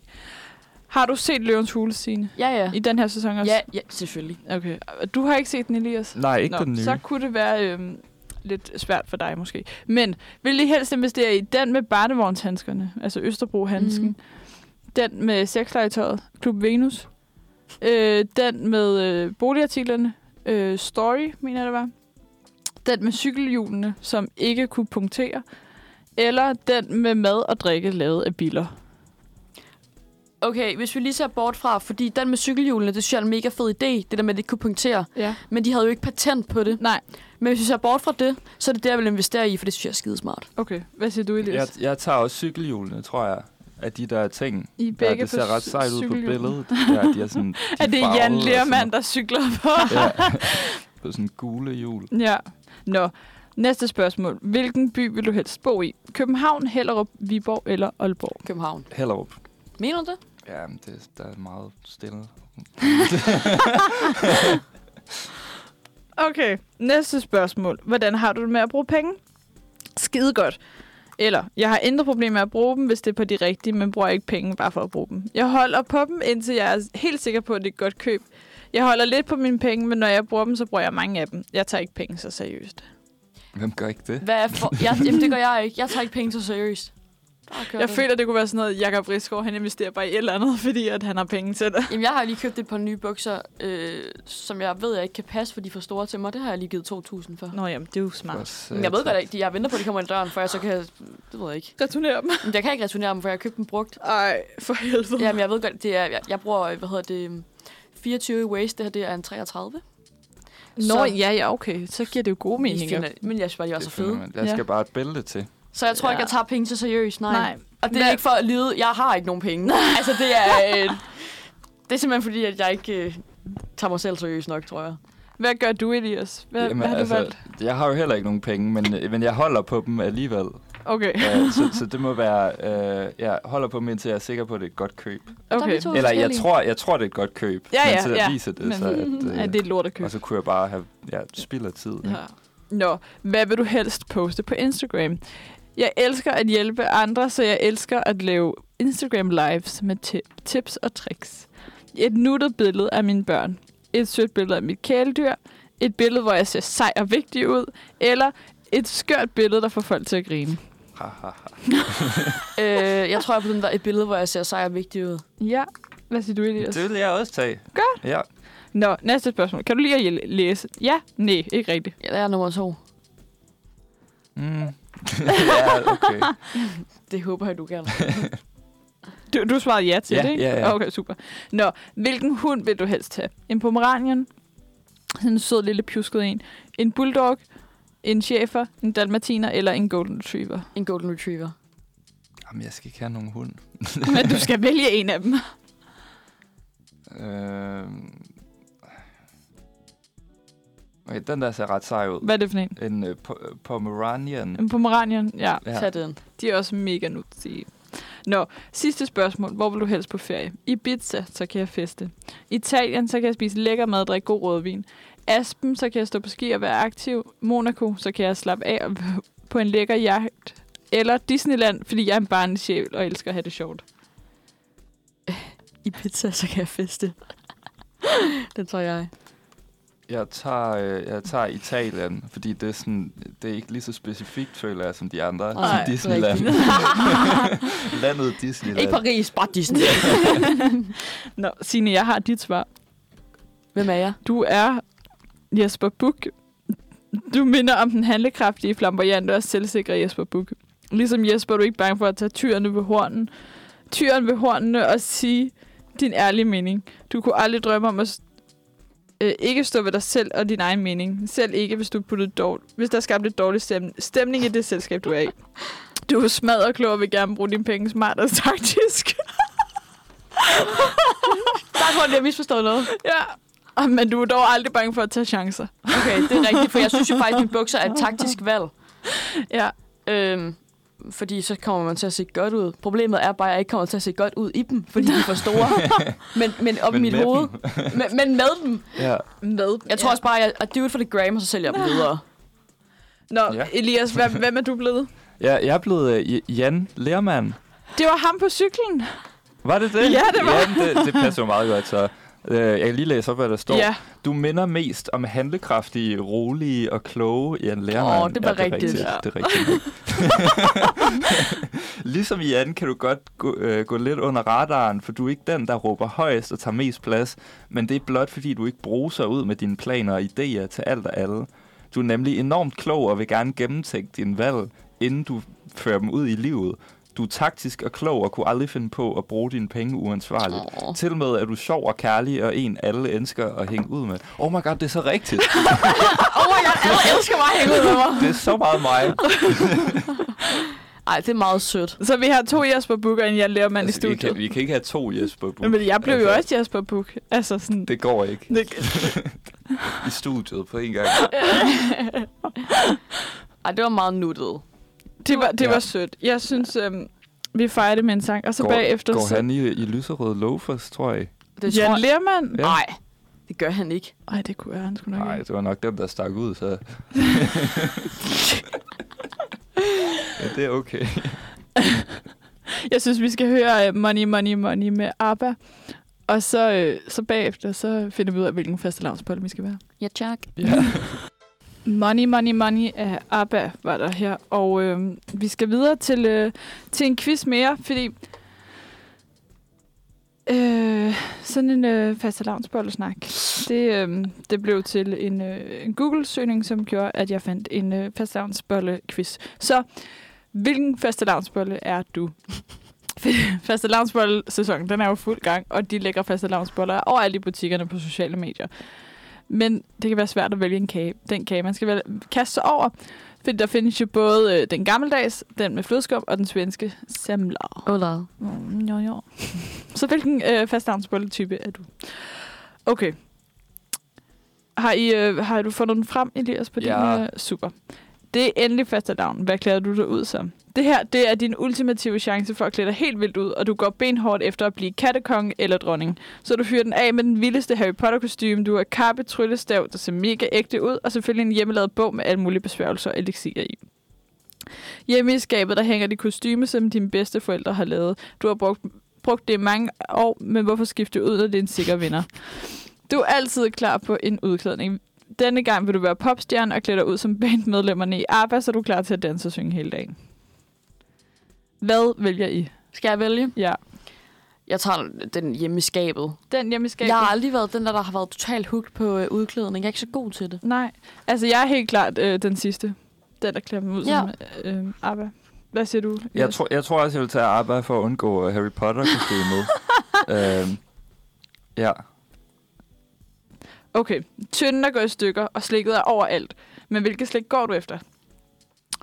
A: Har du set Løvens Hule, Signe?
B: Ja, ja.
A: I den her sæson også?
B: Ja, ja, selvfølgelig.
A: Okay. Du har ikke set den, Elias?
C: Nej, ikke Nå, den nye.
A: Så kunne det være øhm, lidt svært for dig måske. Men vil I helst investere i den med barnevognshandskerne, altså Østerbro-handsken,
B: Mhm.
A: mm. den med sexlegetøjet, Klub Venus, øh, den med øh, boligartiklerne, øh, Story, mener jeg det var, den med cykelhjulene, som ikke kunne punktere, eller den med mad og drikke lavet af biler.
B: Okay, hvis vi lige ser bort fra, fordi den med cykelhjulene, det synes jeg er en mega fed idé, det der med, at det ikke kunne punktere.
A: Ja.
B: Men de havde jo ikke patent på det.
A: Nej,
B: Men hvis vi ser bort fra det, så er det der, jeg vil investere i, for det synes jeg er skidesmart.
A: okay. Hvad siger du, Elias?
C: Jeg, jeg tager også cykelhjulene, tror jeg, af de der ting.
A: I er
C: Ja,
A: begge
C: det
A: på
C: ser ret sejt ud på
A: cykelhjulene. *laughs*
C: billedet. Ja, de er sådan, de
A: Er det
C: farvede
A: Jan
C: og sådan
A: Lermand, der cykler på?
C: noget. Ja, på sådan gule hjul.
A: *laughs* Ja. Nå. Næste spørgsmål. Hvilken by vil du helst bo i? København, Hellerup, Viborg eller Aalborg?
B: København.
C: Hellerup.
B: Mener du det?
C: Ja, men det, der er meget stille.
A: Okay. Næste spørgsmål. Hvordan har du det med at bruge penge? Skide godt. Eller, jeg har intet problem med at bruge dem, hvis det er på de rigtige, men bruger ikke penge bare for at bruge dem. Jeg holder på dem, indtil jeg er helt sikker på, at det er et godt køb. Jeg holder lidt på mine penge, men når jeg bruger dem, så bruger jeg mange af dem. Jeg tager ikke penge så seriøst.
C: Hvem gør ikke det?
B: Hvad er for... jeg, jamen, det gør jeg ikke. Jeg tager ikke penge så seriøst. Bare kør
A: Jeg
B: den.
A: føler, det kunne være sådan noget, Jacob Risgaard, han investerer bare i et eller andet, *laughs* fordi at han har penge til det.
B: Jamen, jeg har lige købt et par nye bukser, øh, som jeg ved, jeg ikke kan passe, for de er for store til mig. Det har jeg lige givet 2.000 for.
A: Nå jamen, det er jo smart.
C: øh,
B: Men jeg ved godt, at de- jeg venter på, at de kommer ind ad døren, for jeg så kan... Det ved jeg ikke.
A: Returner dem.
B: Men jeg kan ikke returnere dem, for jeg har købt dem brugt.
A: Ej, for helvede.
B: Jamen, jeg ved godt, det er, jeg, jeg bruger, hvad hedder det, 24 i waste. Det her, det er en 33.
A: Nå,
B: Så-
A: ja, ja, okay. Så giver det jo gode
B: I finder- Men jeg synes bare, de er
C: det
B: så
C: finder
B: fede.
C: man. Jeg
A: Ja.
C: skal bare et bælte til.
B: Så jeg tror ikke,
A: Ja.
B: jeg tager penge så seriøst, nej.
A: Nej.
B: Og det er
A: Hvad-
B: ikke for at lyde, jeg har ikke nogen penge. altså, det er, øh, det er simpelthen fordi, at jeg ikke øh, tager mig selv seriøst nok, tror jeg.
A: Hvad gør du, Elias? Hvad, Jamen, hvad har du altså... valgt?
C: øh,
A: *laughs*
C: Jeg har jo heller ikke nogen penge, men, men jeg holder på dem alligevel.
A: Okay.
C: Øh, så, så det må være, øh, jeg holder på mig, indtil jeg er sikker på, at det er et godt køb.
B: er vi
A: okay.
B: to.
C: Eller jeg
B: forskellige.
C: tror, jeg tror, det er et godt køb.
A: Ja, ja,
C: men til at
A: ja.
C: vise det,
A: Men-
C: så
A: *laughs*
C: at, øh,
A: Ja, det er et lort at købe.
C: Og så kunne jeg bare have ja, spild af tid. ikke?
A: Ja. Nå, hvad vil du helst poste på Instagram? Jeg elsker at hjælpe andre, så jeg elsker at lave Instagram lives med ti- tips og tricks. Et nuttet billede af mine børn. Et sødt billede af mit kæledyr. Et billede, hvor jeg ser sej og vigtig ud. Eller et skørt billede, der får folk til at grine.
C: Ha, ha, ha.
B: Øh, jeg tror, jeg på den der et billede, hvor jeg ser sej og vigtig ud.
A: Ja, hvad siger du, Elias?
C: Det ville jeg også tage.
A: Godt.
C: Ja.
A: Nå, næste spørgsmål. Kan du lige at hjæl- læse? Ja, nej, ikke rigtigt.
B: Ja, det er nummer to.
C: Mm. *laughs* ja, okay.
B: Det håber jeg, du gerne.
A: Du, du svarede ja til
C: Ja,
A: det, ikke?
C: ja, ja.
A: Okay, super. Nå, hvilken hund vil du helst have? En pomeranian, sådan en sød lille pjusket en, en bulldog, en schæfer, en dalmatiner eller en golden retriever?
B: En golden retriever.
C: Jamen, jeg skal ikke have nogen hund.
A: Men du skal vælge en af dem.
C: Øh... Okay, den der ser ret sej ud.
A: Hvad er det for en?
C: En øh, po- øh, Pomeranian.
A: En pomeranian, ja.
B: Ja. Tag den.
A: De er også mega nutige. Nå, sidste spørgsmål. Hvor vil du helst på ferie? Ibiza, så kan jeg feste. Italien, så kan jeg spise lækker mad og drikke god rødvin. Aspen, så kan jeg stå på ski og være aktiv. Monaco, så kan jeg slappe af og *laughs* på en lækker jagt. Eller Disneyland, fordi jeg er en barnlig sjæl og elsker at have det sjovt. *laughs*
B: I pizza, så kan jeg feste. den tror jeg.
C: Jeg tager, øh, jeg tager Italien, fordi det er, sådan, det er ikke lige så specifikt, føler jeg, som de andre.
B: Nej,
A: *laughs*
C: som Disneyland.
B: rigtigt. *laughs*
C: Landet Disneyland.
B: Ikke Paris, bare Disney.
A: Nå, Signe, jeg har dit svar.
B: Hvem er jeg?
A: Du er Jesper Buch. Du minder om den handlekraftige, flamboyante og selvsikre Jesper Buch. Ligesom Jesper er du ikke bange for at tage tyrene ved hornen. Tyren ved hornene og sige din ærlige mening. Du kunne aldrig drømme om at s- øh, ikke stå ved dig selv og din egen mening. Selv ikke, hvis, du puttede dårl- hvis der skabte dårlig stem- stemning i det selskab, du er i. Du er smad og klog og vil gerne bruge dine penge smart og taktisk. *laughs*
B: Der er grund, jeg misforstået noget.
A: ja. Ah, Men du er dog aldrig bange for at tage chancer.
B: Okay, det er rigtigt, for jeg synes jo faktisk, at mine bukser er et taktisk valg.
A: Ja.
B: Øhm, fordi så kommer man til at se godt ud. Problemet er bare, at jeg ikke kommer til at se godt ud i dem, fordi de er for
C: *laughs*
B: store. men, men op
C: Men
B: i mit
C: med
B: hoved. *laughs* men, men med dem.
C: Ja.
A: Med.
B: Jeg tror også bare, at jeg at do it for the gram, og så sælger jeg dem videre.
A: Nå, ja.
C: Ja.
A: Elias, hvad,
C: *laughs*
A: hvem er du blevet?
C: Ja, jeg er blevet øh, J- Jan Lermann.
A: Det var ham på cyklen.
C: Var det det?
A: Ja, det var.
C: Jamen, det, det passer jo meget godt, så. Øh, Jeg kan lige læse op, hvad der står.
A: Ja.
C: Du minder mest om handlekraftige, rolige og kloge Jan Lermann.
B: Åh, det var rigtigt.
C: Ja. Det er
B: *laughs*
C: rigtigt. ligesom Jan kan du godt gå, øh, gå lidt under radaren, for du er ikke den, der råber højst og tager mest plads, men det er blot fordi, du ikke bruser ud med dine planer og idéer til alt og alle. Du er nemlig enormt klog og vil gerne gennemtænke dine valg, inden du fører dem ud i livet. Du er taktisk og klog og kunne aldrig finde på at bruge dine penge uansvarligt.
B: Åh.
C: Oh. Til og med er du sjov og kærlig og en, alle elsker at hænge ud med. Oh my god, det er så
A: *laughs*
C: rigtigt.
B: Oh my god, alle elsker mig hænge ud med mig.
C: det er så meget mig.
B: Ej, det er meget sødt.
A: Så vi har to Jesper Buch og en Jan Lermann i
C: Altså, vi, kan,
A: studiet.
C: vi kan ikke have to Jesper Buch.
A: Men jeg blev jo
C: Altså,
A: også Jesper Buch. Altså sådan...
C: Det går ikke
A: Det,
C: *laughs* i studiet
A: *laughs*
C: på en gang.
B: Ej, det var meget nuttet.
A: det, var, det
C: Ja.
A: var sødt. Jeg synes, øhm, vi fejrer det med en sang. Og så
C: går,
A: bagefter...
C: går
A: så-
C: han i, i lyserøde loafers, tror jeg.
B: Det tror
A: Jan
B: jeg...
A: Lermann?
C: Ja.
B: Nej, det gør han ikke.
A: Nej, det kunne jeg. Han skulle nok
C: Nej,
A: ikke.
C: det var nok dem, der stak
A: *laughs*
C: ud, så... ja, det er
A: *laughs*
C: okay.
A: Jeg synes, vi skal høre øh, Money, Money, Money med ABBA. Og så, øh, så bagefter, så finder vi ud af, hvilken faste lavnsbolle vi skal være.
B: Ja, tak.
C: Ja.
A: Money, money, money af ABBA var der her. Og øh, vi skal videre til, øh, til en quiz mere, fordi øh, sådan en øh, fastelavnsbollesnak, det, øh, det blev til en, øh, en Google-søgning, som gjorde, at jeg fandt en øh, fastelavnsbolle-quiz. Så hvilken fastelavnsbolle er du? *laughs* fastelavnsbolle-sæsonen, den er jo fuld gang, og de lækre fastelavnsboller er overalt i butikkerne på sociale medier. Men det kan være svært at vælge en kage. Den kage, man skal vælge, kaste sig over. Fordi der findes jo både øh, den gammeldags, den med flødeskum og den svenske semler.
B: Hola.
A: Mm, jo, jo. Så hvilken øh, fastavnsbolle-type er du? Okay. Har, I, øh, har du fundet den frem, Elias? På
C: Ja.
A: din, øh, super. Det er endelig fastelavn. Hvad klæder du dig ud som? Det her, det er din ultimative chance for at klæde dig helt vildt ud, og du går benhårdt efter at blive kattekong eller dronning. Så du fyrer den af med den vildeste Harry potter kostume. Du har kappe, tryllestav, der ser mega ægte ud, og selvfølgelig en hjemmelavet bog med alle mulige besværgelser og elixier i. Hjemme i skabet, der hænger de kostyme, som dine bedste forældre har lavet. Du har brugt, brugt det i mange år, men hvorfor skifte ud, når det er en sikker vinder? Du er altid klar på en udklædning. Denne gang vil du være popstjerne og klæde dig ud som bandmedlemmerne i ABBA, så du er klar til at danse og synge hele dagen. Hvad vælger I?
B: Skal jeg vælge?
A: Ja.
B: Jeg tager den hjemme i skabet.
A: Den hjemme i skabet?
B: Jeg har aldrig været den der, der har været totalt hooked på øh, udklædning. Jeg er ikke så god til det.
A: Nej. Altså, jeg er helt klart øh, den sidste. Den, der klæder mig ud
B: Ja.
A: som øh, øh, ABBA. Hvad siger du?
C: Jeg, tror, jeg tror også, jeg vil tage arbejde for at undgå øh, Harry
A: *laughs*
C: Potter-kostymet. øhm, ja.
A: Okay, tynden er gået i stykker, og slikket er overalt. Men hvilket slik går du efter?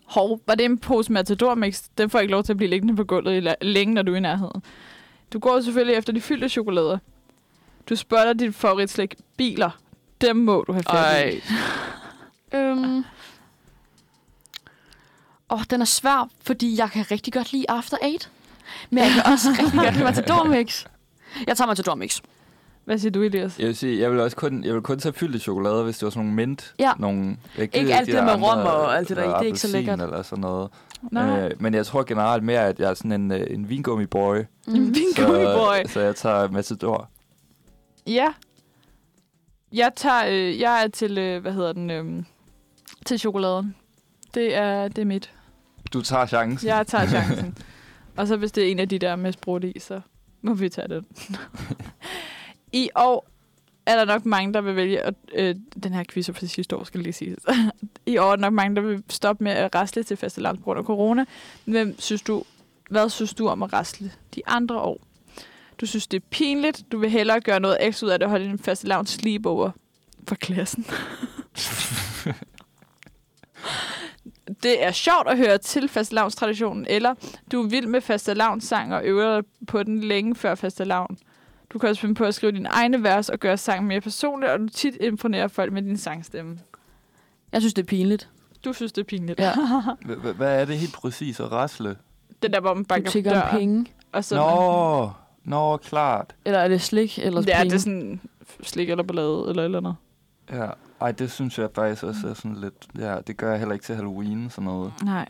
A: Hov, var det en pose matadormix? Den får ikke lov til at blive liggende på gulvet i la- længe, når du er i nærheden. Du går selvfølgelig efter de fyldte chokolader. Du spotter dit favoritslik biler. Dem må du have fat i.
B: *laughs* Øhm. Åh, den er svær, fordi jeg kan rigtig godt lide After Eight. Men jeg
A: *laughs*
B: kan også rigtig godt lide Matador Mix. Jeg tager Matador Mix.
A: Hvad siger du, Elias?
C: Jeg vil sige, jeg vil også kun, jeg vil kun tage fyldte chokolader, hvis det var sådan nogle mint.
B: Ja.
C: Nogle, jeg
B: Ikke
C: gider
B: alt
C: de
B: det
C: der
B: med rom
C: andre,
B: og alt det der i. Det er ikke så
C: appelsin
B: lækkert.
C: Eller sådan noget.
A: Nej.
C: Øh, men jeg tror generelt mere, at jeg er sådan en, øh, en vingummi-boy.
A: Mm. Din gummiboy.
C: Så, så jeg tager Matador.
A: Ja. Jeg tager, øh, jeg er til, øh, hvad hedder den, øh, til chokoladen. Det er, det er mit.
C: Du tager chancen.
A: Jeg tager chancen. og så hvis det er en af de der med sprudt i, så må vi tage den. I år er der nok mange, der vil vælge, og øh, den her quiz er fra sidste år, skal lige sige. *laughs* I år er der nok mange, der vil stoppe med at rasle til faste på grund af corona. Hvem synes du, hvad synes du om at rasle de andre år? Du synes, det er pinligt. Du vil hellere gøre noget ekstra ud af det og holde en faste lavn sleepover for klassen. det er sjovt at høre til fastelavnstraditionen, eller du er vild med fastelavnssang og øver dig på den længe før fastelavn. Du kan også finde på at skrive dine egne vers og gøre sangen mere personlig, og du tit imponerer folk med din sangstemme.
B: *laughs* Jeg synes, det er pinligt.
A: Du synes, det er pinligt.
B: Ja.
C: H- h- Hvad er det helt præcis at rasle?
A: Den der, hvor man
B: Du
A: banker på
B: tigger om
A: døren.
B: penge.
A: Og så
C: Nå, nå, klart.
B: Eller er det slik? Eller
A: ja,
B: penge?
A: det er sådan slik eller ballade eller et eller andet.
C: Ja. Ej, det synes jeg faktisk også er sådan lidt... Ja, det gør jeg heller ikke til Halloween, sådan noget.
A: Nej.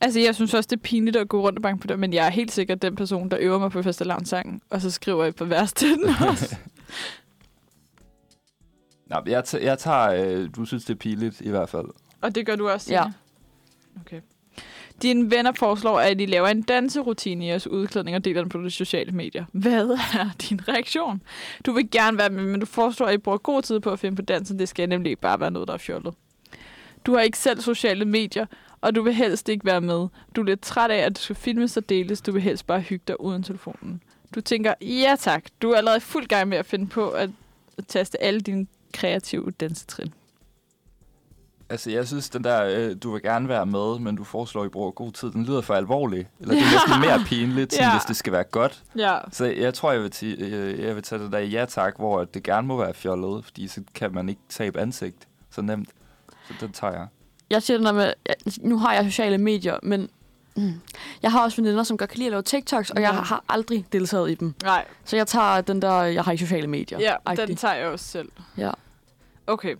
A: Altså, jeg synes også, det er pinligt at gå rundt og banke på døren, men jeg er helt sikkert den person, der øver mig på fastelavnssangen, og så skriver jeg på vers til den også.
C: Nej, men jeg, t- jeg tager... Øh, du synes, det er piligt i hvert fald.
A: Og det gør du også,
B: Ja.
A: Signe? Okay. Dine venner foreslår, at I laver en danserutine i jeres udklædning og deler den på de sociale medier. Hvad er din reaktion? Du vil gerne være med, men du foreslår, at I bruger god tid på at finde på dansen. Det skal nemlig ikke bare være noget, der er fjollet. Du har ikke selv sociale medier, og du vil helst ikke være med. Du er lidt træt af, at du skal filmes og deles. Du vil helst bare hygge dig uden telefonen. Du tænker, ja tak, du er allerede i fuld gang med at finde på at taste alle dine kreative dansetrin.
C: Altså, jeg synes, den der, øh, du vil gerne være med, men du foreslår, I bruger god tid, den lyder for alvorlig. Eller det er næsten mere pinligt, sådan,
A: Ja.
C: ja. hvis det skal være godt.
A: Ja,
C: Så jeg tror, jeg vil, ti- øh, jeg vil tage det der ja tak, hvor at det gerne må være fjollet, fordi så kan man ikke tabe ansigt så nemt. Så den tager jeg.
B: jeg siger det der med, jeg, nu har jeg sociale medier, men mm, jeg har også veninder, som godt kan lide at lave TikToks, og jeg
A: Ja.
B: har aldrig deltaget i dem.
A: nej,
B: Så jeg tager den der, jeg har ikke sociale medier.
A: Ja, den
B: agtig.
A: tager jeg også selv.
B: Ja.
A: Okay.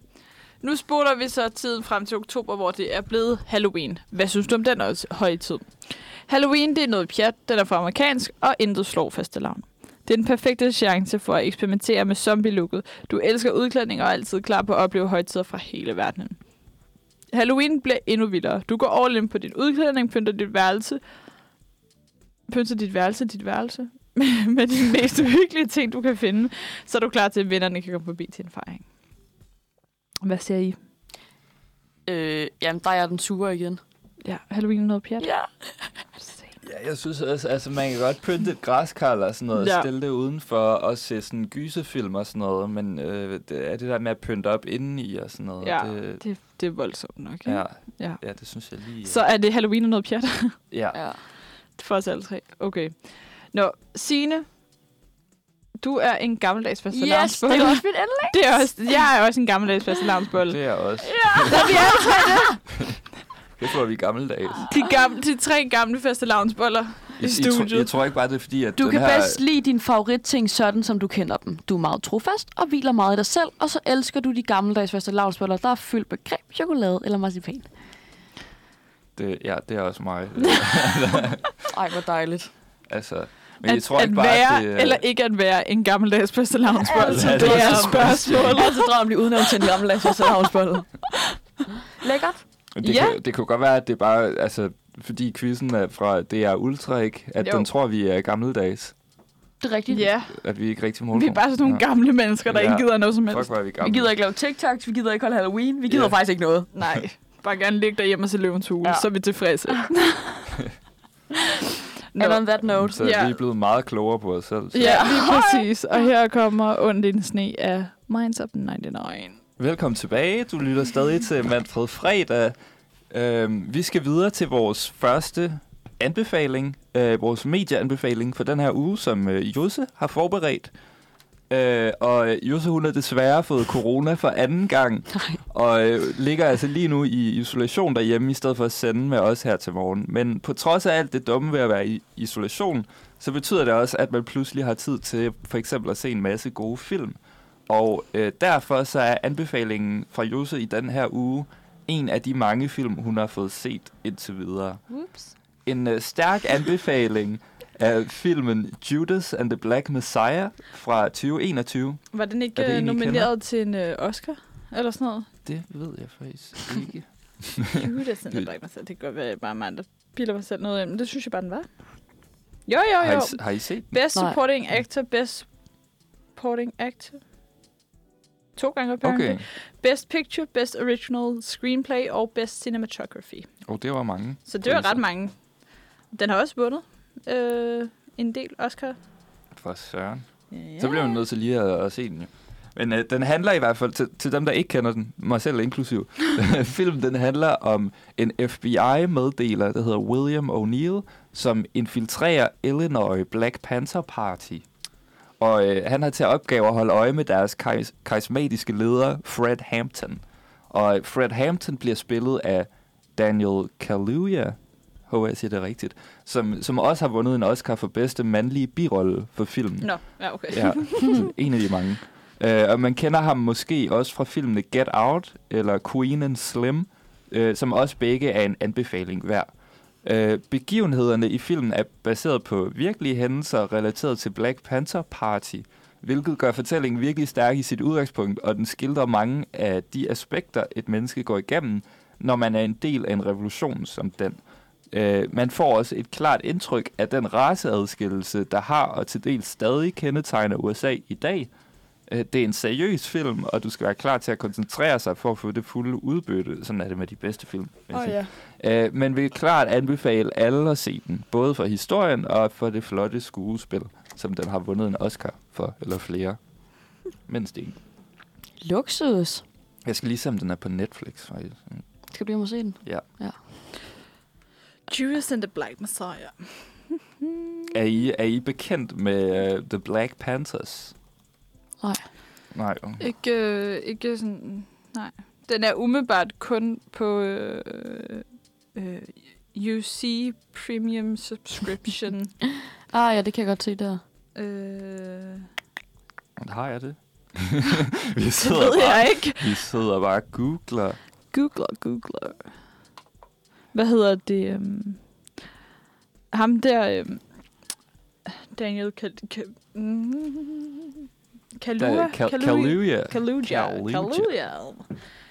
A: Nu spoler vi så tiden frem til oktober, hvor det er blevet Halloween. Hvad synes du om den også højtid? Halloween, det er noget pjat, den er fra amerikansk, og intet slår fastelavn. Det er den perfekte chance for at eksperimentere med zombie-looket. Du elsker udklædning og er altid klar på at opleve højtider fra hele verdenen. Halloween bliver endnu vildere. Du går all in på din udklædning, pynter dit værelse. Pynter dit værelse, dit værelse. *laughs* med de mest uhyggelige ting, du kan finde så er du klar til, at vinderne kan komme forbi til en fejring. Hvad siger I?
B: Øh, jamen, der er jeg den sure igen.
A: Ja, Halloween er noget pjat.
B: Ja.
C: Ja, jeg synes også, altså man kan godt pynte et græskar eller sådan noget,
A: Ja.
C: ja. stille det udenfor og se sådan gyserfilm og sådan noget, men øh, det er det der med at pynte op indeni og sådan noget.
A: Ja,
C: det,
A: det, det er voldsomt nok. ikke?
C: ja,
A: Ja.
C: ja. ja, det synes jeg lige.
A: Så er det Halloween er noget pjat *laughs*
C: ja.
B: ja.
A: for os alle tre. Okay. Nå, Signe, Du er en gammeldags faste
B: Yes,
A: *laughs*
B: det er også mit indlæg.
A: det er også, jeg er også en gammeldags faste
C: Det er også.
A: Der vi alle tre
C: Det får vi gammeldags.
A: de, gamle, de tre gamle faste lavnsboller Ah, i
C: Jeg, jeg, tror, jeg
A: studiet.
C: tror ikke bare, det er fordi, at
B: Du
C: den
B: kan
C: her...
B: bedst lide dine favoritting sådan, som du kender dem. Du er meget trofast og hviler meget i dig selv, og så elsker du de gammeldags faste lavnsboller, der er fyldt med creme, chokolade eller marcipan.
C: Det, ja, det er også mig.
B: Ej, hvor *laughs* dejligt.
C: altså, men
A: At,
C: jeg tror ikke
A: at
C: bare,
A: være,
C: at det... øh,
A: eller ikke at være en gammeldags faste lavnsbolle,
C: Altså,
A: så det
C: det
A: er
C: er
A: spørgsmålet.
B: Jeg så drømmer om at blive udnævnt til en gammeldags faste lavnsbolle. *laughs* Lækkert.
C: Det,
A: Ja.
C: kan, det kunne godt være, at det er bare... Altså, fordi quizzen er fra DR Ultra, ikke? At
A: Jo.
C: jo. den tror, vi er gammeldags.
B: Det er rigtigt.
A: Ja,
C: At vi ikke rigtig
A: vi
C: målgruppe.
A: er bare sådan nogle gamle mennesker, der
C: Ja.
A: ikke gider noget som helst.
C: Fuck, hvor er vi gamle.
B: ikke lave TikToks, vi gider ikke holde Halloween, vi
C: gider Ja.
B: faktisk ikke noget.
A: Nej, bare gerne ligge derhjemme og se løvens hule,
B: Ja.
A: så er vi *laughs* tilfredse. Nå.
B: And on that note.
C: Så
A: Ja.
C: vi er blevet meget klogere på os selv. Så.
A: Ja, lige præcis. Og her kommer Ondt i den sne af Minds Up 99.
C: Velkommen tilbage. Du lytter stadig til Manfred Fredag. Øhm, vi skal videre til vores første anbefaling, øh, vores medieanbefaling for den her uge, som øh, Jose har forberedt. Øh, og øh, Jose, hun har desværre fået corona for anden gang, og øh, ligger altså lige nu i isolation derhjemme, i stedet for at sende med os her til morgen. Men på trods af alt det dumme ved at være i isolation, så betyder det også, at man pludselig har tid til for eksempel at se en masse gode film. Og øh, derfor så er anbefalingen fra Jose i den her uge en af de mange film, hun har fået set indtil videre.
B: Whoops.
C: En øh,
A: *laughs*
C: stærk anbefaling af filmen Judas and the Black Messiah fra 2021.
A: Var den
C: Er det
A: ikke
C: en, I
A: nomineret til en øh, Oscar? Eller sådan *laughs* noget?
C: Det ved jeg faktisk ikke.
A: Judas and the Black Messiah. Det kan godt være bare mig, der piller mig selv noget ind, men det synes jeg bare, den var. Jo, jo,
C: har,
A: jo.
C: I, har I set den?
A: Best
B: Nej.
A: supporting actor, best supporting actor. To gange apparently.
C: Okay,
A: Best picture, best original screenplay og best cinematography.
C: og det var mange.
A: Så det var
C: Priser.
A: ret mange. Den har også vundet øh, en del Oscar.
C: For søren.
A: Yeah.
C: Så bliver man nødt til lige at, at se den jo. Men øh, den handler i hvert fald, til, til dem der ikke kender den, mig selv inklusiv, *laughs* filmen den handler om en FBI-meddeler, der hedder William O'Neill, som infiltrerer Illinois Black Panther Party. Og øh, han har til opgave at holde øje med deres karis- karismatiske leder, Fred Hampton. Og øh, Fred Hampton bliver spillet af Daniel Kaluuya, håber jeg siger det rigtigt, som, som også har vundet en Oscar for bedste mandlige birolle for filmen.
A: Nå, ja, okay. *laughs*
C: Ja, sådan en af de mange. Uh, og man kender ham måske også fra filmene Get Out eller Queen and Slim, uh, som også begge er en anbefaling hver. Uh, begivenhederne i filmen er baseret på virkelige hændelser relateret til Black Panther Party, hvilket gør fortællingen virkelig stærk i sit udgangspunkt, og den skildrer mange af de aspekter, et menneske går igennem, når man er en del af en revolution som den. Øh, man får også et klart indtryk af den raceadskillelse, der har og til dels stadig kendetegner USA i dag. Øh, det er en seriøs film, og du skal være klar til at koncentrere sig for at få det fulde udbytte. Sådan er det med de bedste film. vil jeg
A: Åh,
C: sige.
A: ja.
C: Øh, men vil klart anbefale alle at se den, både for historien og for det flotte skuespil, som den har vundet en Oscar for, eller flere. Mindst en.
B: Luksus.
C: Jeg skal lige se, om den er på Netflix, faktisk.
B: Skal du lige om at se den?
A: Judas and the Black Messiah.
C: Er I, er I bekendt med uh, The Black Panthers?
B: Nej.
C: Nej, okay.
A: Ikke, øh, ikke sådan... Nej. Den er umiddelbart kun på øh, øh, UC Premium Subscription.
B: Ah ja, det kan jeg godt se der.
A: øh,
C: Har
A: *laughs*
C: jeg det? vi,
A: det
C: sidder
A: ved *laughs*
C: bare,
A: jeg ikke.
C: vi sidder bare og googler.
A: Googler, googler. Hvad hedder det? Um, ham der... Um, Daniel Kal... Kal... Mm, Kalua?
C: Da- Øh, Kal-
A: Kalua?
C: Kaluuya.
A: Kaluja.
C: Kaluuya.
A: Kaluja.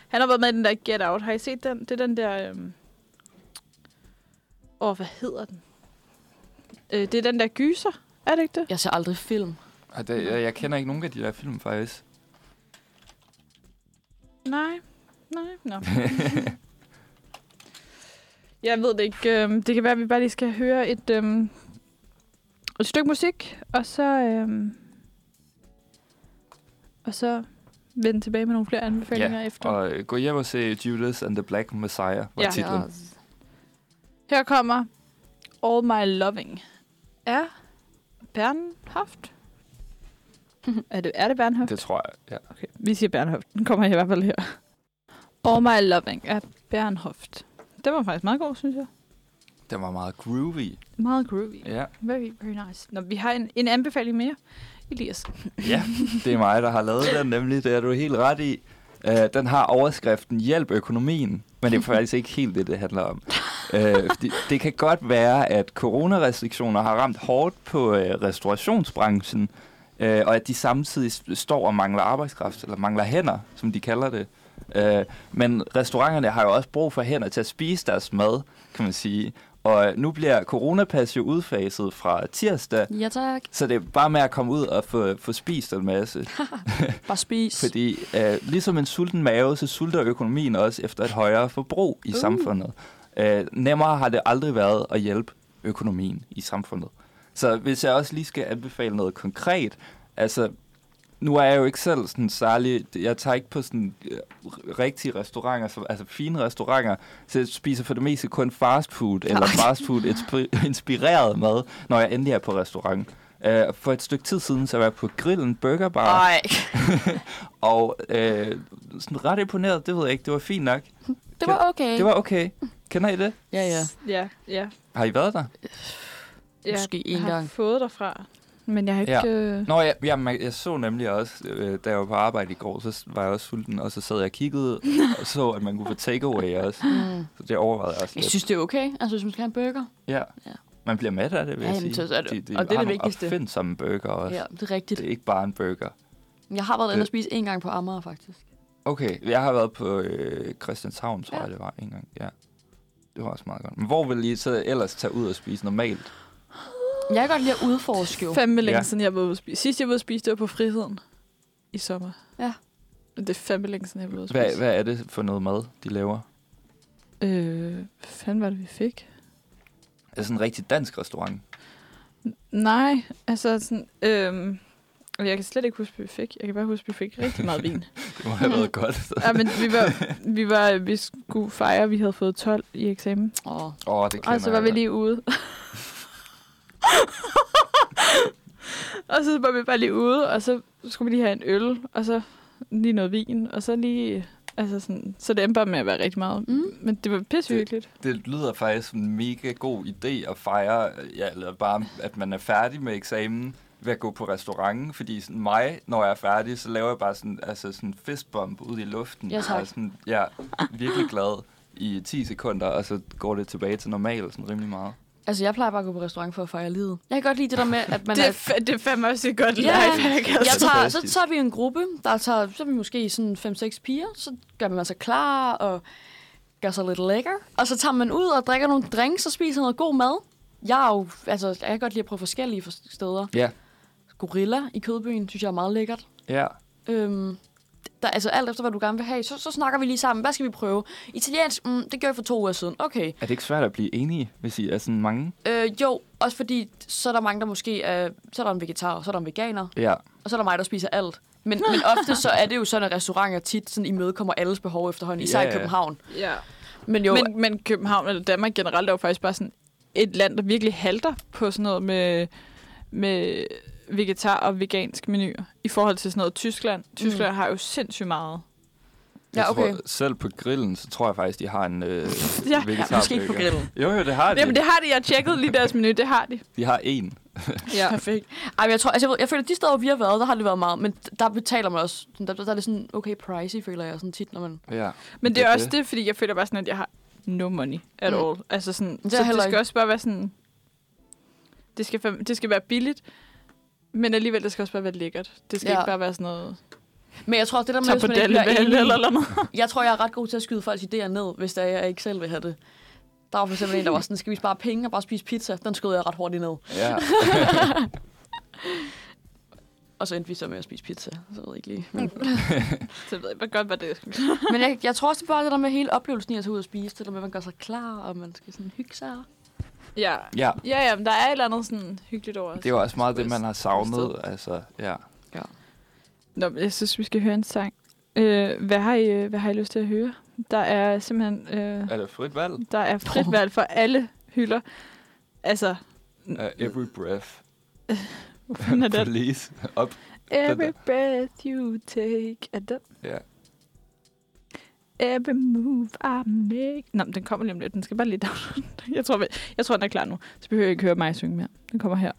A: Han har været med i den der Get Out. Har I set den? Det er den der... Øhm... Åh, hvad hedder den? Øh, det er den der gyser, er det ikke det?
B: Jeg ser aldrig film.
C: Ej, det- Jeg, jeg kender ikke nogen af de der film, faktisk.
A: Nej. Nej, nå. Jeg ved det ikke. Øhm, det kan være, at vi bare lige skal høre et, øhm, et stykke musik, og så... Øhm, og så vende tilbage med nogle flere anbefalinger efter.
C: og øh, gå hjem og se Judas and the Black Messiah, var
A: Ja.
C: ja. titlen.
B: Jeg,
A: Her kommer All My Loving af Bernhaft. Er det, er det Bernhoft?
C: Det tror jeg. Ja.
A: Okay, vi siger Bernhoft. Den kommer i hvert fald her. All My Loving af Bernhoft. Det var faktisk meget god, synes jeg.
C: Den var meget groovy.
A: Meget groovy.
C: Ja.
A: Very, very nice. Nå, vi har en, en anbefaling mere. Elias.
C: ja, det er mig, der har lavet den nemlig. Det er du helt ret i. Uh, den har overskriften Hjælp økonomien. Men det er faktisk ikke helt det, det handler om. Uh, det, det kan godt være, at coronarestriktioner har ramt hårdt på uh, restaurationsbranchen, uh, og at de samtidig s- står og mangler arbejdskraft, eller mangler hænder, som de kalder det. Uh, men restauranterne har jo også brug for hænder til at spise deres mad, kan man sige. Og nu bliver coronapas jo udfaset fra tirsdag,
B: Ja, tak.
C: så det er bare med at komme ud og få, få spist en masse.
B: Bare spis.
C: Fordi øh, ligesom en sulten mave, så sulter økonomien også efter et højere forbrug i uh. samfundet. Øh, nemmere har det aldrig været at hjælpe økonomien i samfundet. Så hvis jeg også lige skal anbefale noget konkret, altså nu er jeg jo ikke selv sådan særlig, jeg tager ikke på sådan øh, rigtige restauranter, så, altså fine restauranter, så jeg spiser for det meste kun fast food, eller fast food inspi- *laughs* inspireret mad, når jeg endelig er på restaurant. Øh, for et stykke tid siden, så var jeg på Grillen Burger Bar.
B: Nej,
C: *laughs* Og øh, sådan ret imponeret, det ved jeg ikke. Det var fint nok.
B: det var okay.
C: Det var okay. Kender I det?
B: Ja, ja.
A: Ja, ja.
C: Har I været der?
A: Jeg
B: Måske én
A: har
B: gang.
A: fået dig fra, men jeg har ikke...
C: Ja.
A: Ja. Øh,
C: Nå, jeg, jeg, jeg så nemlig også, øh, da jeg var på arbejde i går, så var jeg også sulten, og så sad jeg og kiggede og så, at man kunne få takeaway også.
B: Mm.
C: Så det overvejede jeg også
B: Jeg
C: lidt.
B: synes, det er okay. Altså, hvis man skal have en burger.
C: Ja.
B: Ja.
C: Man bliver mad af det, vil
B: Ja,
C: jeg
B: jamen,
C: sige.
B: så er det-
C: De, de
B: og det er
C: har
B: det
C: nogle
B: vigtigste.
C: opfindsomme burger også.
B: Ja,
C: Ja.
B: det er rigtigt.
C: Det er ikke bare en burger.
B: Jeg har været inde og
C: Det-
B: spise en gang på Amager, faktisk.
C: Okay, jeg har været på øh, Christianshavn, tror
B: Ja.
C: ja. jeg, det var en gang. Ja. Det var også meget godt. Men hvor vil I så ellers tage ud og spise normalt?
B: Jeg kan godt lide at udforske jo.
A: fandme længe ja.
C: Ja.
A: siden, jeg var ude at spise. Sidst jeg var ude at spise, det var på friheden i sommer.
B: Ja.
A: Men Det er fandme længe siden, jeg var ude at spise.
C: Hvad, hvad er det for noget mad, de laver?
A: Øh, hvad fanden var det, vi fik?
C: Er det sådan en rigtig dansk restaurant?
A: Nej, altså sådan... Øh, jeg kan slet ikke huske, hvad vi fik. Jeg kan bare huske, at vi fik rigtig meget
C: *laughs*
A: vin.
C: Det må have
B: *laughs*
C: været godt.
A: ja, men vi var, vi var, vi skulle fejre, at vi havde fået 12 i eksamen.
B: Åh,
C: Åh, oh, det kender
A: Og
B: Altså,
A: så var vi
C: jeg
A: lige ude. og så var vi bare lige ude, og så skulle vi lige have en øl, og så lige noget vin, og så lige... Altså sådan, så det endte bare med at være rigtig meget.
B: Mm.
A: Men det var pissehyggeligt.
C: godt. Det lyder faktisk som en mega god idé at fejre, ja, eller bare at man er færdig med eksamen ved at gå på restauranten, fordi sådan mig, når jeg er færdig, så laver jeg bare sådan, altså sådan en fistbump ud i luften.
B: Ja, tak.
C: Og er sådan, jeg er virkelig glad i 10 sekunder, og så går det tilbage til normalt sådan rimelig meget.
B: Altså, jeg plejer bare at gå på restaurant for at fejre livet. Jeg kan godt lide det der med, at man
A: det, er,
B: er...
A: fa- det er fandme også et godt
B: Ja.
A: yeah. lifehack.
B: Jeg
A: Altså.
B: tager, så
C: Fantastisk.
B: tager vi en gruppe, der tager, så er vi måske sådan 5-6 piger, så gør man sig klar og gør sig lidt lækker. Og så tager man ud og drikker nogle drinks og spiser noget god mad. Jeg er jo, altså, jeg kan godt lide at prøve forskellige for- steder.
C: Ja.
B: Gorilla i Kødbyen, synes jeg er meget lækkert.
C: Ja.
B: Øhm, der, altså alt efter, hvad du gerne vil have, så, så snakker vi lige sammen. Hvad skal vi prøve? Italiensk, mm, det gjorde jeg for to uger siden. Okay.
C: Er det ikke svært at blive enige, hvis I er sådan mange?
B: Øh, jo, også fordi, så er der mange, der måske er, så er der en vegetar, og så er der en veganer,
C: Ja.
B: og så er der mig, der spiser alt. Men, men ofte så er det jo sådan, at restauranter tit sådan imødekommer alles behov efterhånden, især
C: Ja,
B: i
C: ja.
B: København.
A: Ja.
B: Men jo, men,
A: Men, men København eller Danmark generelt er jo faktisk bare sådan et land, der virkelig halter på sådan noget med, med vegetar og vegansk menuer i forhold til sådan noget Tyskland. Tyskland mm. har jo sindssygt meget.
B: Ja,
C: Jeg
B: okay.
C: Tror, selv på grillen, så tror jeg faktisk, de har en øh,
A: Ja,
B: *laughs* ja, måske ikke på
C: vegetarburger.
B: grillen.
C: Jo, jo, det har de.
A: Jamen det har de, jeg tjekkede lige deres menu, det har de.
C: De har en.
A: Ja.
B: *laughs* Perfekt. Ej, men jeg tror, altså jeg, ved, jeg føler, at de steder, hvor vi har været, der har det været meget, men der betaler man også, der, der er det sådan okay pricey, føler jeg sådan tit, når man...
C: Ja.
A: Men det er også det, fordi jeg føler bare sådan, at jeg har no money at
B: Mm.
A: all. Altså sådan,
B: er
A: det så det
B: heller
A: skal
B: ikke.
A: også bare være sådan, det skal, fam- det skal være billigt, men alligevel, det skal også bare være lækkert. Det skal
B: Ja.
A: ja. ikke bare være sådan noget,
B: Men jeg tror, det der med,
A: tag
B: hvis
A: på
B: man ikke bliver
A: eller,
B: enige-
A: eller noget. *laughs*
B: Jeg tror, jeg er ret god til at skyde folks idéer ned, hvis der jeg ikke selv vil have det. Der var for eksempel en, der var sådan, skal vi spare penge og bare spise pizza? Den skød jeg ret hurtigt ned.
C: Ja.
B: Og så endte vi så med at spise pizza. Så ved jeg ikke lige. Men,
A: Så ved jeg bare godt, hvad det er.
B: men jeg, jeg, tror også, det er bare det der med hele oplevelsen i at tage ud og spise. Det der med, at man gør sig klar, og man skal sådan hygge sig.
A: Ja.
C: ja.
A: Ja, ja, men der er et eller andet sådan hyggeligt over os.
C: Det er jo også meget det, man har savnet. Altså, ja.
A: Nå, men jeg synes, vi skal høre en sang. Øh, hvad, har I, øh, hvad har I lyst til at høre? Der er simpelthen øh,
C: Er det frit valg?
A: der er frit valg for alle hylder. Altså,
C: Uh, every breath.
A: *laughs* hvor fanden er den?
C: Please. Op.
A: Every breath you take. Er den?
C: Ja.
A: Every move I make. Nå, men den kommer lige om lidt. Den skal bare lige down. *laughs* Jeg tror, vi- jeg tror, den er klar nu. Så behøver jeg ikke høre mig synge mere. Den kommer her.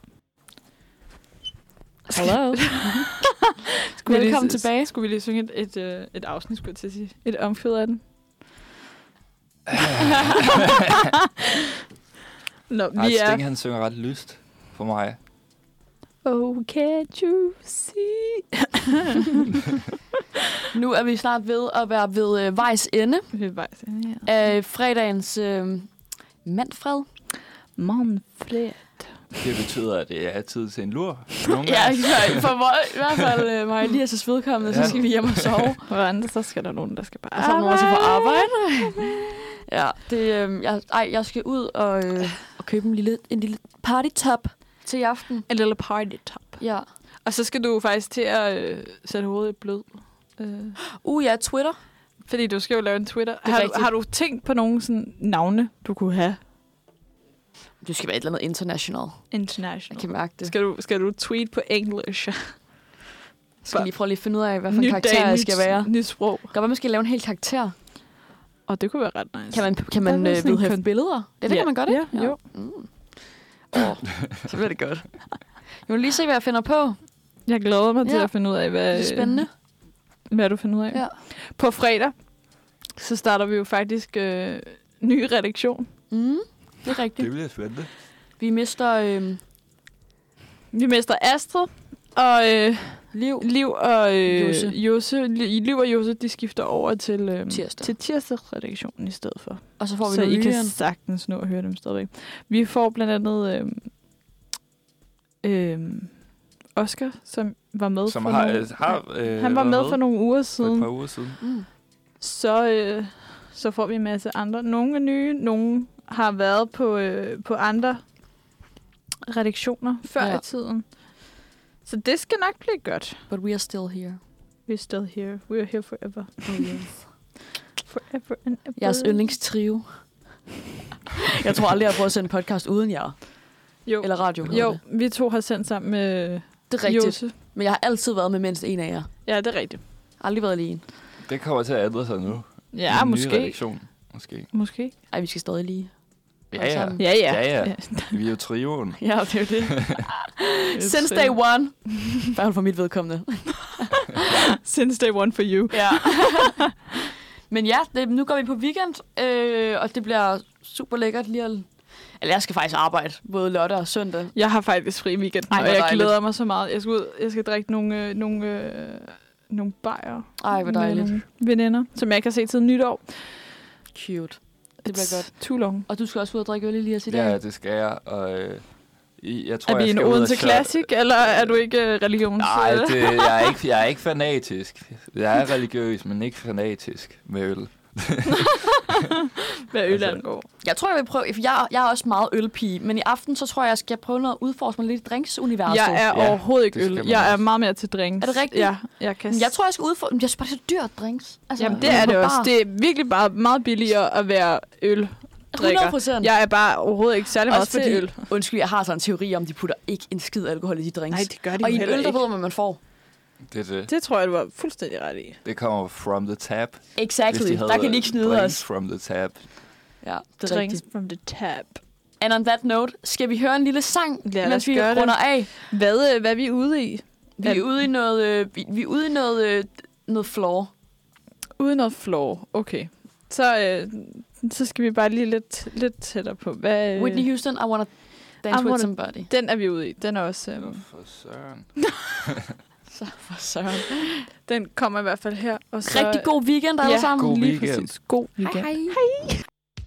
B: Hello.
A: vi lige
B: Velkommen
A: s-
B: tilbage.
A: Skulle vi lige synge et, et, øh, et afsnit, skulle jeg til at sige. Et omkvæd af
B: *laughs*
A: den. Nå,
C: Ej,
A: vi
C: Sting,
A: er...
C: han synger ret lyst for mig.
A: Oh, can't you see?
B: *laughs* Nu er vi snart ved at være ved øh, vejs ende
A: Vi er bare sådan her.
B: af fredagens øh, mandfred.
A: Manfred.
C: Det betyder, at det er tid til en
A: *laughs*
C: lur. Nogle
B: Ja,
C: gange.
B: for, for mig, i hvert fald øh, mig lige er så vedkommende, så
C: Ja.
B: skal vi hjem og sove.
A: Hvordan så skal der nogen, der skal bare
B: Og så er der nogen, der skal på arbejde. *laughs* Ja, det, øh, jeg, ej, jeg skal ud og, øh, og købe en lille, en lille partytop til i aften.
A: En lille party top.
B: Ja.
A: Og så skal du faktisk til at øh, sætte hovedet i blød. Øh,
B: Uh, ja, Twitter.
A: fordi du skal jo lave en Twitter.
B: er
A: Har, du-
B: rigtigt.
A: har du tænkt på nogle sådan, navne, du kunne have
B: Du skal være et eller andet international. Jeg
A: international?
B: kan mærke det.
A: Skal du, skal du tweet på engelsk?
B: Jeg *laughs* skal lige prøve lige at finde ud af, hvad for
A: Ny
B: en karakter
A: dag,
B: jeg
A: nyt-
B: skal være.
A: Nyt sprog.
B: Godt, man skal lave en hel karakter.
A: Og det kunne være ret nice.
B: Kan man, kan man
A: Der er
B: øh,
A: sådan en
B: vedhæfte
A: kon-
B: billeder? Ja, det kan man godt, ikke?
A: Ja, jo.
B: Mm. Oh, så bliver det godt. *laughs* Jeg vil lige se, hvad jeg finder på.
A: Jeg glæder mig til
B: Ja.
A: at finde ud af, hvad,
B: Det er spændende.
A: hvad du finder ud af.
B: Ja.
A: På fredag, så starter vi jo faktisk øh, ny redaktion.
B: Mm. Det er rigtigt.
C: Det bliver spændende.
B: Vi mister øh,
A: Vi mister Astrid, og øh,
B: liv.
A: Liv og øh, Jose.
B: Jose.
A: Jose, Li- Liv og Jose, de skifter over til, øh,
B: Tirsdag.
A: til tirsdagsredaktionen i stedet for.
B: Og så får vi
A: så I kan
B: Lyren.
A: sagtens nå at høre dem stadigvæk. Vi får blandt andet øh, øh, Oscar, som var med
C: Som
A: for
C: har,
A: nogle,
C: øh, har, øh,
A: han var med for
C: været
A: nogle uger
C: for et
A: siden.
C: par uger siden.
B: Mm.
A: Så, øh, så får vi en masse andre. Nogle er nye, nogle har været på, øh, på andre redaktioner før ja.
B: Ja.
A: i tiden. Så det skal nok blive godt.
B: But we are still here.
A: We're still here. We're here forever.
B: Oh, *laughs* yes.
A: Forever and ever.
B: Jeres yndlingstrio. jeg tror aldrig, jeg har prøvet at sende en podcast uden jer.
A: Jo,
B: Eller radio. hedder
A: jo
B: det.
A: vi to har sendt sammen med
B: Det er rigtigt.
A: Jose.
B: Men jeg har altid været med mindst en af jer.
A: Ja, det er rigtigt.
B: Aldrig været lige en.
C: Det kommer til at ændre sig nu.
A: Ja,
C: Den nye
A: måske.
C: Redaktion. Måske.
A: Måske.
B: Ej, vi skal stadig lige.
C: Ja,
B: Alle
C: ja.
B: sammen.
A: Ja, ja. *laughs*
C: Ja, ja. Vi er jo trioen.
B: Ja, det er jo det. Since day one. I hvert fald for mit vedkommende.
A: Since day one for you.
B: Ja. *laughs* Men ja, det, nu går vi på weekend, øh, og det bliver super lækkert lige at... Eller jeg skal faktisk arbejde både lørdag og søndag.
A: Jeg har faktisk fri weekend,
B: Ej,
A: og
B: hvor
A: jeg
B: dejligt.
A: glæder mig så meget. Jeg skal ud, jeg skal drikke nogle, øh, nogle, øh, nogle bajer.
B: Ej, hvor dejligt.
A: Med nogle veninder, som jeg kan se til nytår.
B: Cute. Det bliver godt.
A: Too long.
B: Og du skal også ud og drikke øl lige os i dag.
C: Ja, det skal jeg. Og, øh, I- jeg tror,
A: Er vi
C: jeg
A: en
C: skal ud og
A: Odense
C: shoppe.
A: Classic, eller er du ikke øh, religions...
C: Nej, det, jeg, er ikke, jeg er ikke fanatisk. Jeg er religiøs, men ikke fanatisk med øl.
A: *laughs* Hvad øl
C: altså-
A: angår.
B: Jeg tror, jeg vil prøve... for Jeg, jeg er også meget ølpige, men i aften, så tror jeg, jeg skal prøve noget at udforske mig lidt i drinksuniverset.
A: Jeg er
C: Ja,
A: overhovedet ikke
C: det skal
A: øl.
C: man
A: Jeg er
C: også.
A: meget mere til drinks.
B: Er det rigtigt?
A: Ja, jeg kan
B: Men Jeg tror, jeg skal udforske... Men jeg synes bare, det er så dyrt drinks. Altså,
A: Jamen, det
B: når man
A: er det
B: på
A: også.
B: bar.
A: Det er virkelig bare meget billigere at være øl.
B: 100 Altså, procent.
A: Jeg er bare overhovedet ikke særlig meget
B: Også
A: til
B: fordi,
A: øl.
B: undskyld, jeg har sådan en teori om, de putter ikke en skid alkohol i de drinks.
A: gør
B: og i en øl, der ved man, hvad man får.
C: Det, er det.
A: Det tror jeg, du var fuldstændig ret i.
C: det kommer from the tap.
B: Exactly. De der kan de ikke snyde
C: øh, drinks
B: os.
C: from the tap.
B: Ja, det er
A: Drinks
B: rigtigt.
A: from the tap.
B: And on that note, skal vi høre en lille sang,
A: Lad os
B: mens vi
A: gøre det.
B: runder af.
A: Hvad, øh, hvad er vi ude i?
B: Vi
A: Ja.
B: er ude i noget, øh, vi, vi er ude i noget, øh, noget floor.
A: Uden noget floor. Okay. Så, øh, så skal vi bare lige lidt, lidt tættere på. Hvad, øh,
B: Whitney Houston, I wanna
A: I
B: dance with
A: wanna-
B: somebody.
A: Den er vi ude i. Den er også... Øh,
C: For søren.
B: Så for søren.
A: den kommer i hvert fald her. Og så,
B: Rigtig god weekend alle
A: Ja.
B: sammen.
C: God
A: Lige
C: weekend.
A: præcis. God weekend.
B: Hej, hej.